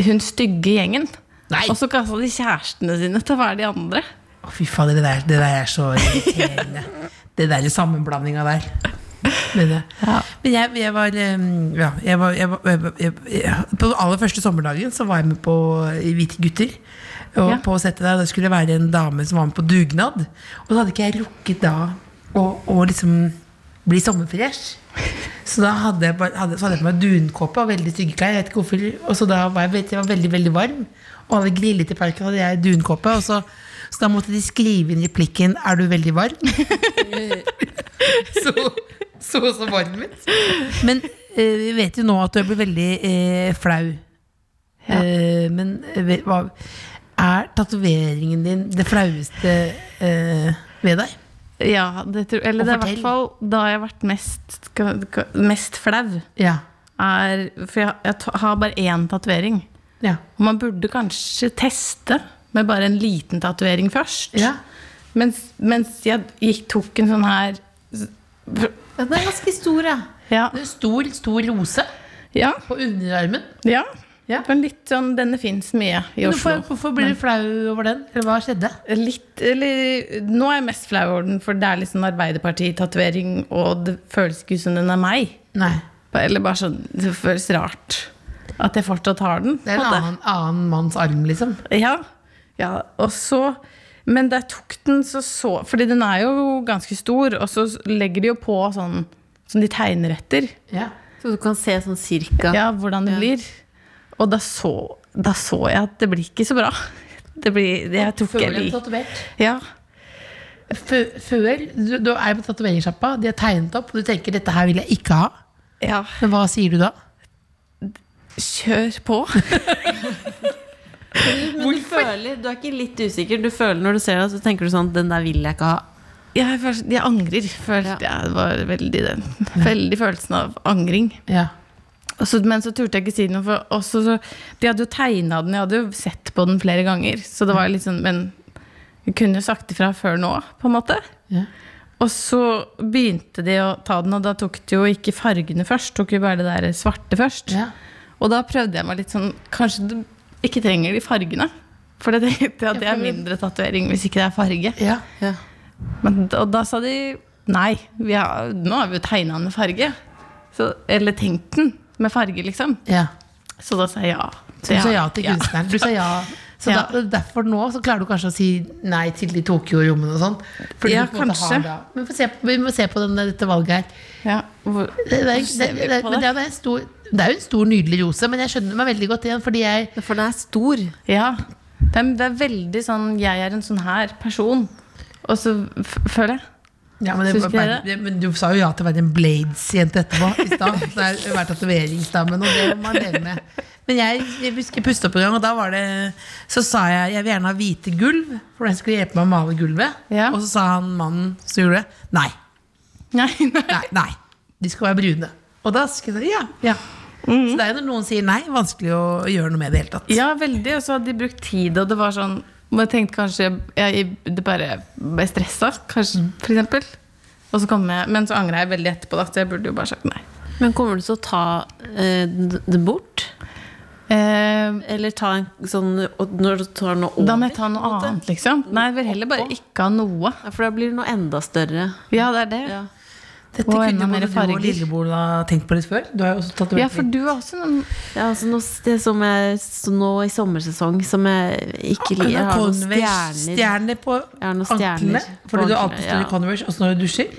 F: Hun stygge gjengen.
C: Nei.
F: Og så kasta de kjærestene sine til å være de andre.
C: Å, fy fader, det der, det der er så irriterende. det der sammenblandinga der. Men, eh, men jeg, jeg var eh, Ja, jeg var, jeg var jeg, var- jeg, jeg, På den aller første sommerdagen så var jeg med på eh, Hvite gutter. Og
F: Ja.
C: på settet der, Det skulle være en dame som var med på dugnad. Og så hadde ikke jeg rukket da å, å liksom bli sommerfresh. Så da hadde jeg, bare, hadde, så hadde jeg på meg dunkåpe og veldig stygge klær. Jeg vet ikke hvorfor, og så da var jeg, vet, jeg var veldig veldig varm. Og hadde grillet i parken, hadde jeg dunkåpe. Og så, så da måtte de skrive inn replikken 'Er du veldig varm?' så, så så varm ut. Men eh, vi vet jo nå at du blir veldig eh, flau. Eh, men eh, ve- hva, er tatoveringen din det flaueste eh, ved deg?
F: Ja, det tror, eller
C: Og
F: det er i
C: fortell.
F: hvert fall da jeg har vært mest, ka- ka- mest flau.
C: Ja.
F: Er, for jeg, jeg ta- har bare én tatovering.
C: Ja.
F: Og man burde kanskje teste med bare en liten tatovering først.
C: Ja.
F: Mens, mens jeg gikk, tok en sånn her
C: Den er ganske stor, ja.
F: Ja.
C: Det er en stor, stor rose
F: Ja.
C: på underarmen.
F: ja.
C: Ja.
F: Det var Litt sånn, denne fins mye i
C: Men
F: Oslo.
C: Hvorfor, hvorfor blir du flau over den? Eller hva skjedde?
F: Litt, eller, nå er jeg mest flau over den, for det er litt sånn Arbeiderparti-tatovering, og det føles ikke som den er meg.
C: Nei.
F: Eller bare sånn, Det føles rart at jeg fortsatt har den.
C: Det er
F: på
C: en
F: en måte.
C: annen, annen manns arm, liksom.
F: Ja, ja og så Men da jeg tok den, så så Fordi den er jo ganske stor, og så legger de jo på sånn som de tegner etter.
C: Ja.
D: Så du kan se sånn cirka.
F: Ja, hvordan det blir. Og da så, da så jeg at det blir ikke så bra. Det blir, jeg tror ikke
C: Før
F: jeg
C: du er
F: liker
C: tatovert.
F: ja.
C: Fø- Før du, du er på tatoveringssjappa, de er tegnet opp, og du tenker 'dette her vil jeg ikke ha'.
F: ja,
C: Men hva sier du da?
F: kjør på.
D: Men du føler, du er ikke litt usikker. Du føler når du ser det, så tenker du sånn Den der vil jeg ikke ha.
F: Jeg, føler- jeg angrer. Følte
D: Ja.
F: jeg det var veldig den. Veldig følelsen av angring.
C: Ja.
F: Og så, men så turte jeg ikke si noe, for også, så, de hadde jo tegna den. Jeg hadde jo sett på den flere ganger. Så det var litt sånn, Men jeg kunne jo sagt ifra før nå, på en måte.
C: Ja.
F: Og så begynte de å ta den, og da tok de jo ikke fargene først. Tok jo bare det der svarte først.
C: Ja.
F: Og da prøvde jeg meg litt sånn Kanskje du ikke trenger de fargene? For det tenkte jeg at det er mindre tatovering hvis ikke det er farge.
C: ja.
F: Men, og da sa de nei, vi har, nå har vi jo tegna den med farge. Så, eller tenkt den med farge, liksom.
C: ja.
F: Så da sa jeg ja.
C: Så du sa ja til kunstneren. Du sa ja. Så
F: Ja.
C: da, derfor nå så klarer du kanskje å si nei til de Tokyo-rommene og sånn. Fordi
F: Ja,
C: du på en måte har
F: kanskje.
C: da- Men få se, vi må se på den, dette valget her.
F: Ja, hvor,
C: Det, det, er-
F: ser
C: det,
F: vi
C: det,
F: på
C: men det,
F: det?
C: er en stor, det er jo en stor, nydelig rose, men jeg skjønner meg veldig godt igjen. Fordi jeg
D: For den er stor.
F: ja. Det, er, det er veldig sånn Jeg er en sånn her person. Og så f føler jeg.
C: Ja, men, det,
F: Syns ikke
C: var-
F: dere
C: men Du sa jo ja til å være en Blades-jente etterpå. I stad. Det er vært tatoveringsdamen, og det må man dele med. Men jeg, jeg husker jeg pustet opp en gang, og da var det Så sa jeg jeg vil gjerne ha hvite gulv, for den skulle hjelpe meg å male gulvet.
F: Ja.
C: Og så sa han mannen som gjorde det, nei.
F: Nei, nei.
C: Nei, nei. De skal være brune. Og da skulle jeg si ja. ja.
F: Mm.
C: Så det er jo når noen sier nei, vanskelig å gjøre noe med det i det hele tatt.
F: Ja, veldig. Og så hadde de brukt tid, og det var sånn Og jeg tenkte kanskje jeg, Det bare ble stressa, kanskje,
C: Mm.
F: for eksempel. Og så kom jeg, men så angra jeg veldig etterpå, da, så jeg burde jo bare sagt nei.
D: Men kommer du til å ta eh, d- det bort?
F: Eh,
D: Eller ta en sånn og Når du tar noe over?
F: da må jeg ta noe annet, liksom. Nei, jeg vil heller bare ikke ha noe.
D: Ja, for da blir det noe enda større.
F: Ja, det er det.
D: Ja.
C: Dette
F: Og
C: kunne
F: enda
C: jo
F: mer
C: både du
F: farger.
C: og Lillebol ha tenkt på litt før. Du har jo også tatovert
F: Ja, for du har også noen
D: Ja, altså noe, det som jeg, så nå i sommersesong som jeg ikke liker. Jeg har noen stjerner.
C: Converse-stjerner på
D: Jeg har noen stjerner
C: anklene.
D: på
C: Fordi du
D: anklene,
C: alltid står i
D: ja.
C: Converse også når du dusjer.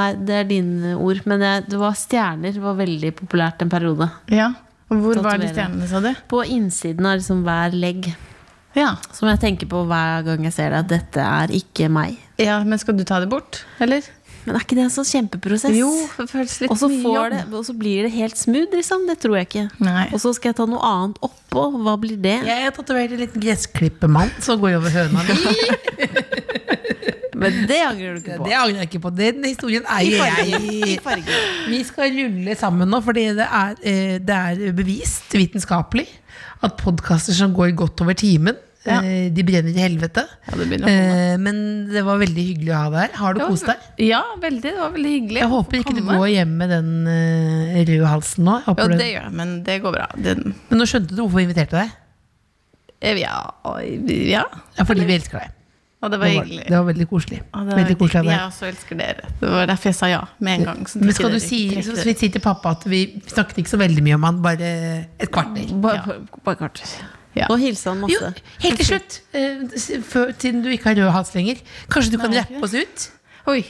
D: Nei, det er dine ord. Men jeg, det var stjerner var veldig populært en periode.
F: Ja. Og Hvor var de
D: Tatovere.
F: stjernene, sa du?
D: På innsiden av liksom hver legg.
F: Ja.
D: Som jeg tenker på hver gang jeg ser det, at dette er ikke meg.
F: ja, men skal du ta det bort, eller?
D: Men er ikke det en sånn kjempeprosess?
F: det føles litt
D: Og så,
F: mye
D: får
F: jobb.
D: det, og så blir det helt smooth, liksom. Det tror jeg ikke.
F: Nei.
D: Og så skal jeg ta noe annet oppå. Hva blir det?
C: Jeg har tatovert en liten gressklippemann som går over høna mi.
D: Men det angrer du ikke på.
C: Det angrer jeg ikke på. Den historien eier jeg. Vi skal rulle sammen nå, fordi det er, eh, det er bevist vitenskapelig at podkaster som går godt over timen,
F: Ja.
C: eh, de brenner i helvete.
F: Ja, det begynner å
C: Eh, Men det var veldig hyggelig å ha deg her. Har du kost deg?
F: Ja, veldig. Det var veldig hyggelig.
C: Jeg
F: å
C: håper ikke du
F: komme.
C: går hjem med den eh, røde halsen nå. Jeg
F: Jo,
C: håper
F: det
C: du-
F: gjør jeg, men det går bra. Den,
C: Men nå skjønte du hvorfor vi inviterte deg.
F: ja,
C: Ja,
F: ja.
C: fordi vi elsker deg.
F: Og det var
A: Det var,
F: hyggelig.
A: det var veldig koselig.
F: Ja, det er
A: veldig koselig av deg.
F: Jeg også elsker dere. Det var derfor jeg sa ja med en gang. så
A: Men
F: dere
A: skal du
F: trekker
A: si,
F: dere.
A: så vidt si til pappa at vi snakket ikke så veldig mye om han, bare et kvarter?
D: Bare, bare kvarter.
F: Ja.
D: Og hilse han
A: Jo,
D: masse.
A: helt til slutt, eh, s- før, siden du ikke har rød hals lenger, kanskje du kan
F: Nei,
A: rappe oss ut?
F: Oi.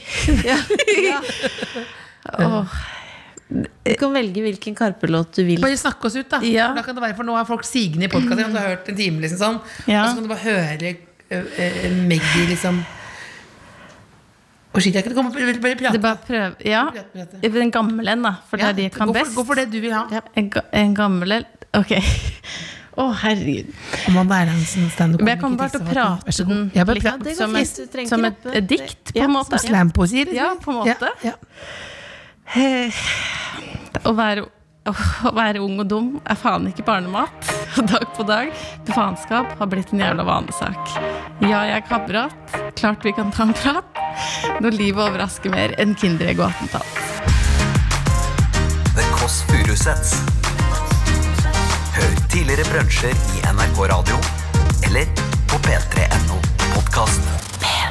D: Du kan velge hvilken Karpe-låt du vil.
A: Bare snakke oss ut, da.
F: Ja.
A: For Da kan det være, for nå er folk sigende i podkasten, og du har hørt en time, liksom sånn.
F: Ja.
A: Og så kan du bare høre uh, Maggie, liksom Og shit, jeg kan komme, jeg vil bare
F: Det
A: prate.
F: er bare å prøve. Ja.
A: Prate, prate.
F: Den gamle en, da. For det
A: Ja,
F: er de jeg kan
A: gå for-
F: best.
A: Gå for det du vil ha.
F: Ja. En, ga- en gammel en. Ok. Å, herregud.
A: Amanda Erlandsen, sånn standup
F: Men jeg kommer bare til å prate den
A: Jeg bare
F: litt.
A: prater
D: det går
F: som
D: fint,
F: et,
D: du trenger
F: som
D: ikke
F: et,
D: rappe.
F: et dikt, på
D: Ja,
F: en måte.
D: snakk.
A: slampoesi, liksom.
F: Ja, på en måte.
A: Ja, ja.
F: Eh, Å være, å være ung og dum er faen ikke barnemat. Og Dag på dag. Faenskap har blitt en jævla vanesak. Ja, jeg er kamerat. Klart vi kan ta en prat. Når livet overrasker mer enn Kinderegg og attentat.
B: The Kåss Furuseths. Hør tidligere brunsjer i NRK Radio eller på p3.no podkast. P3.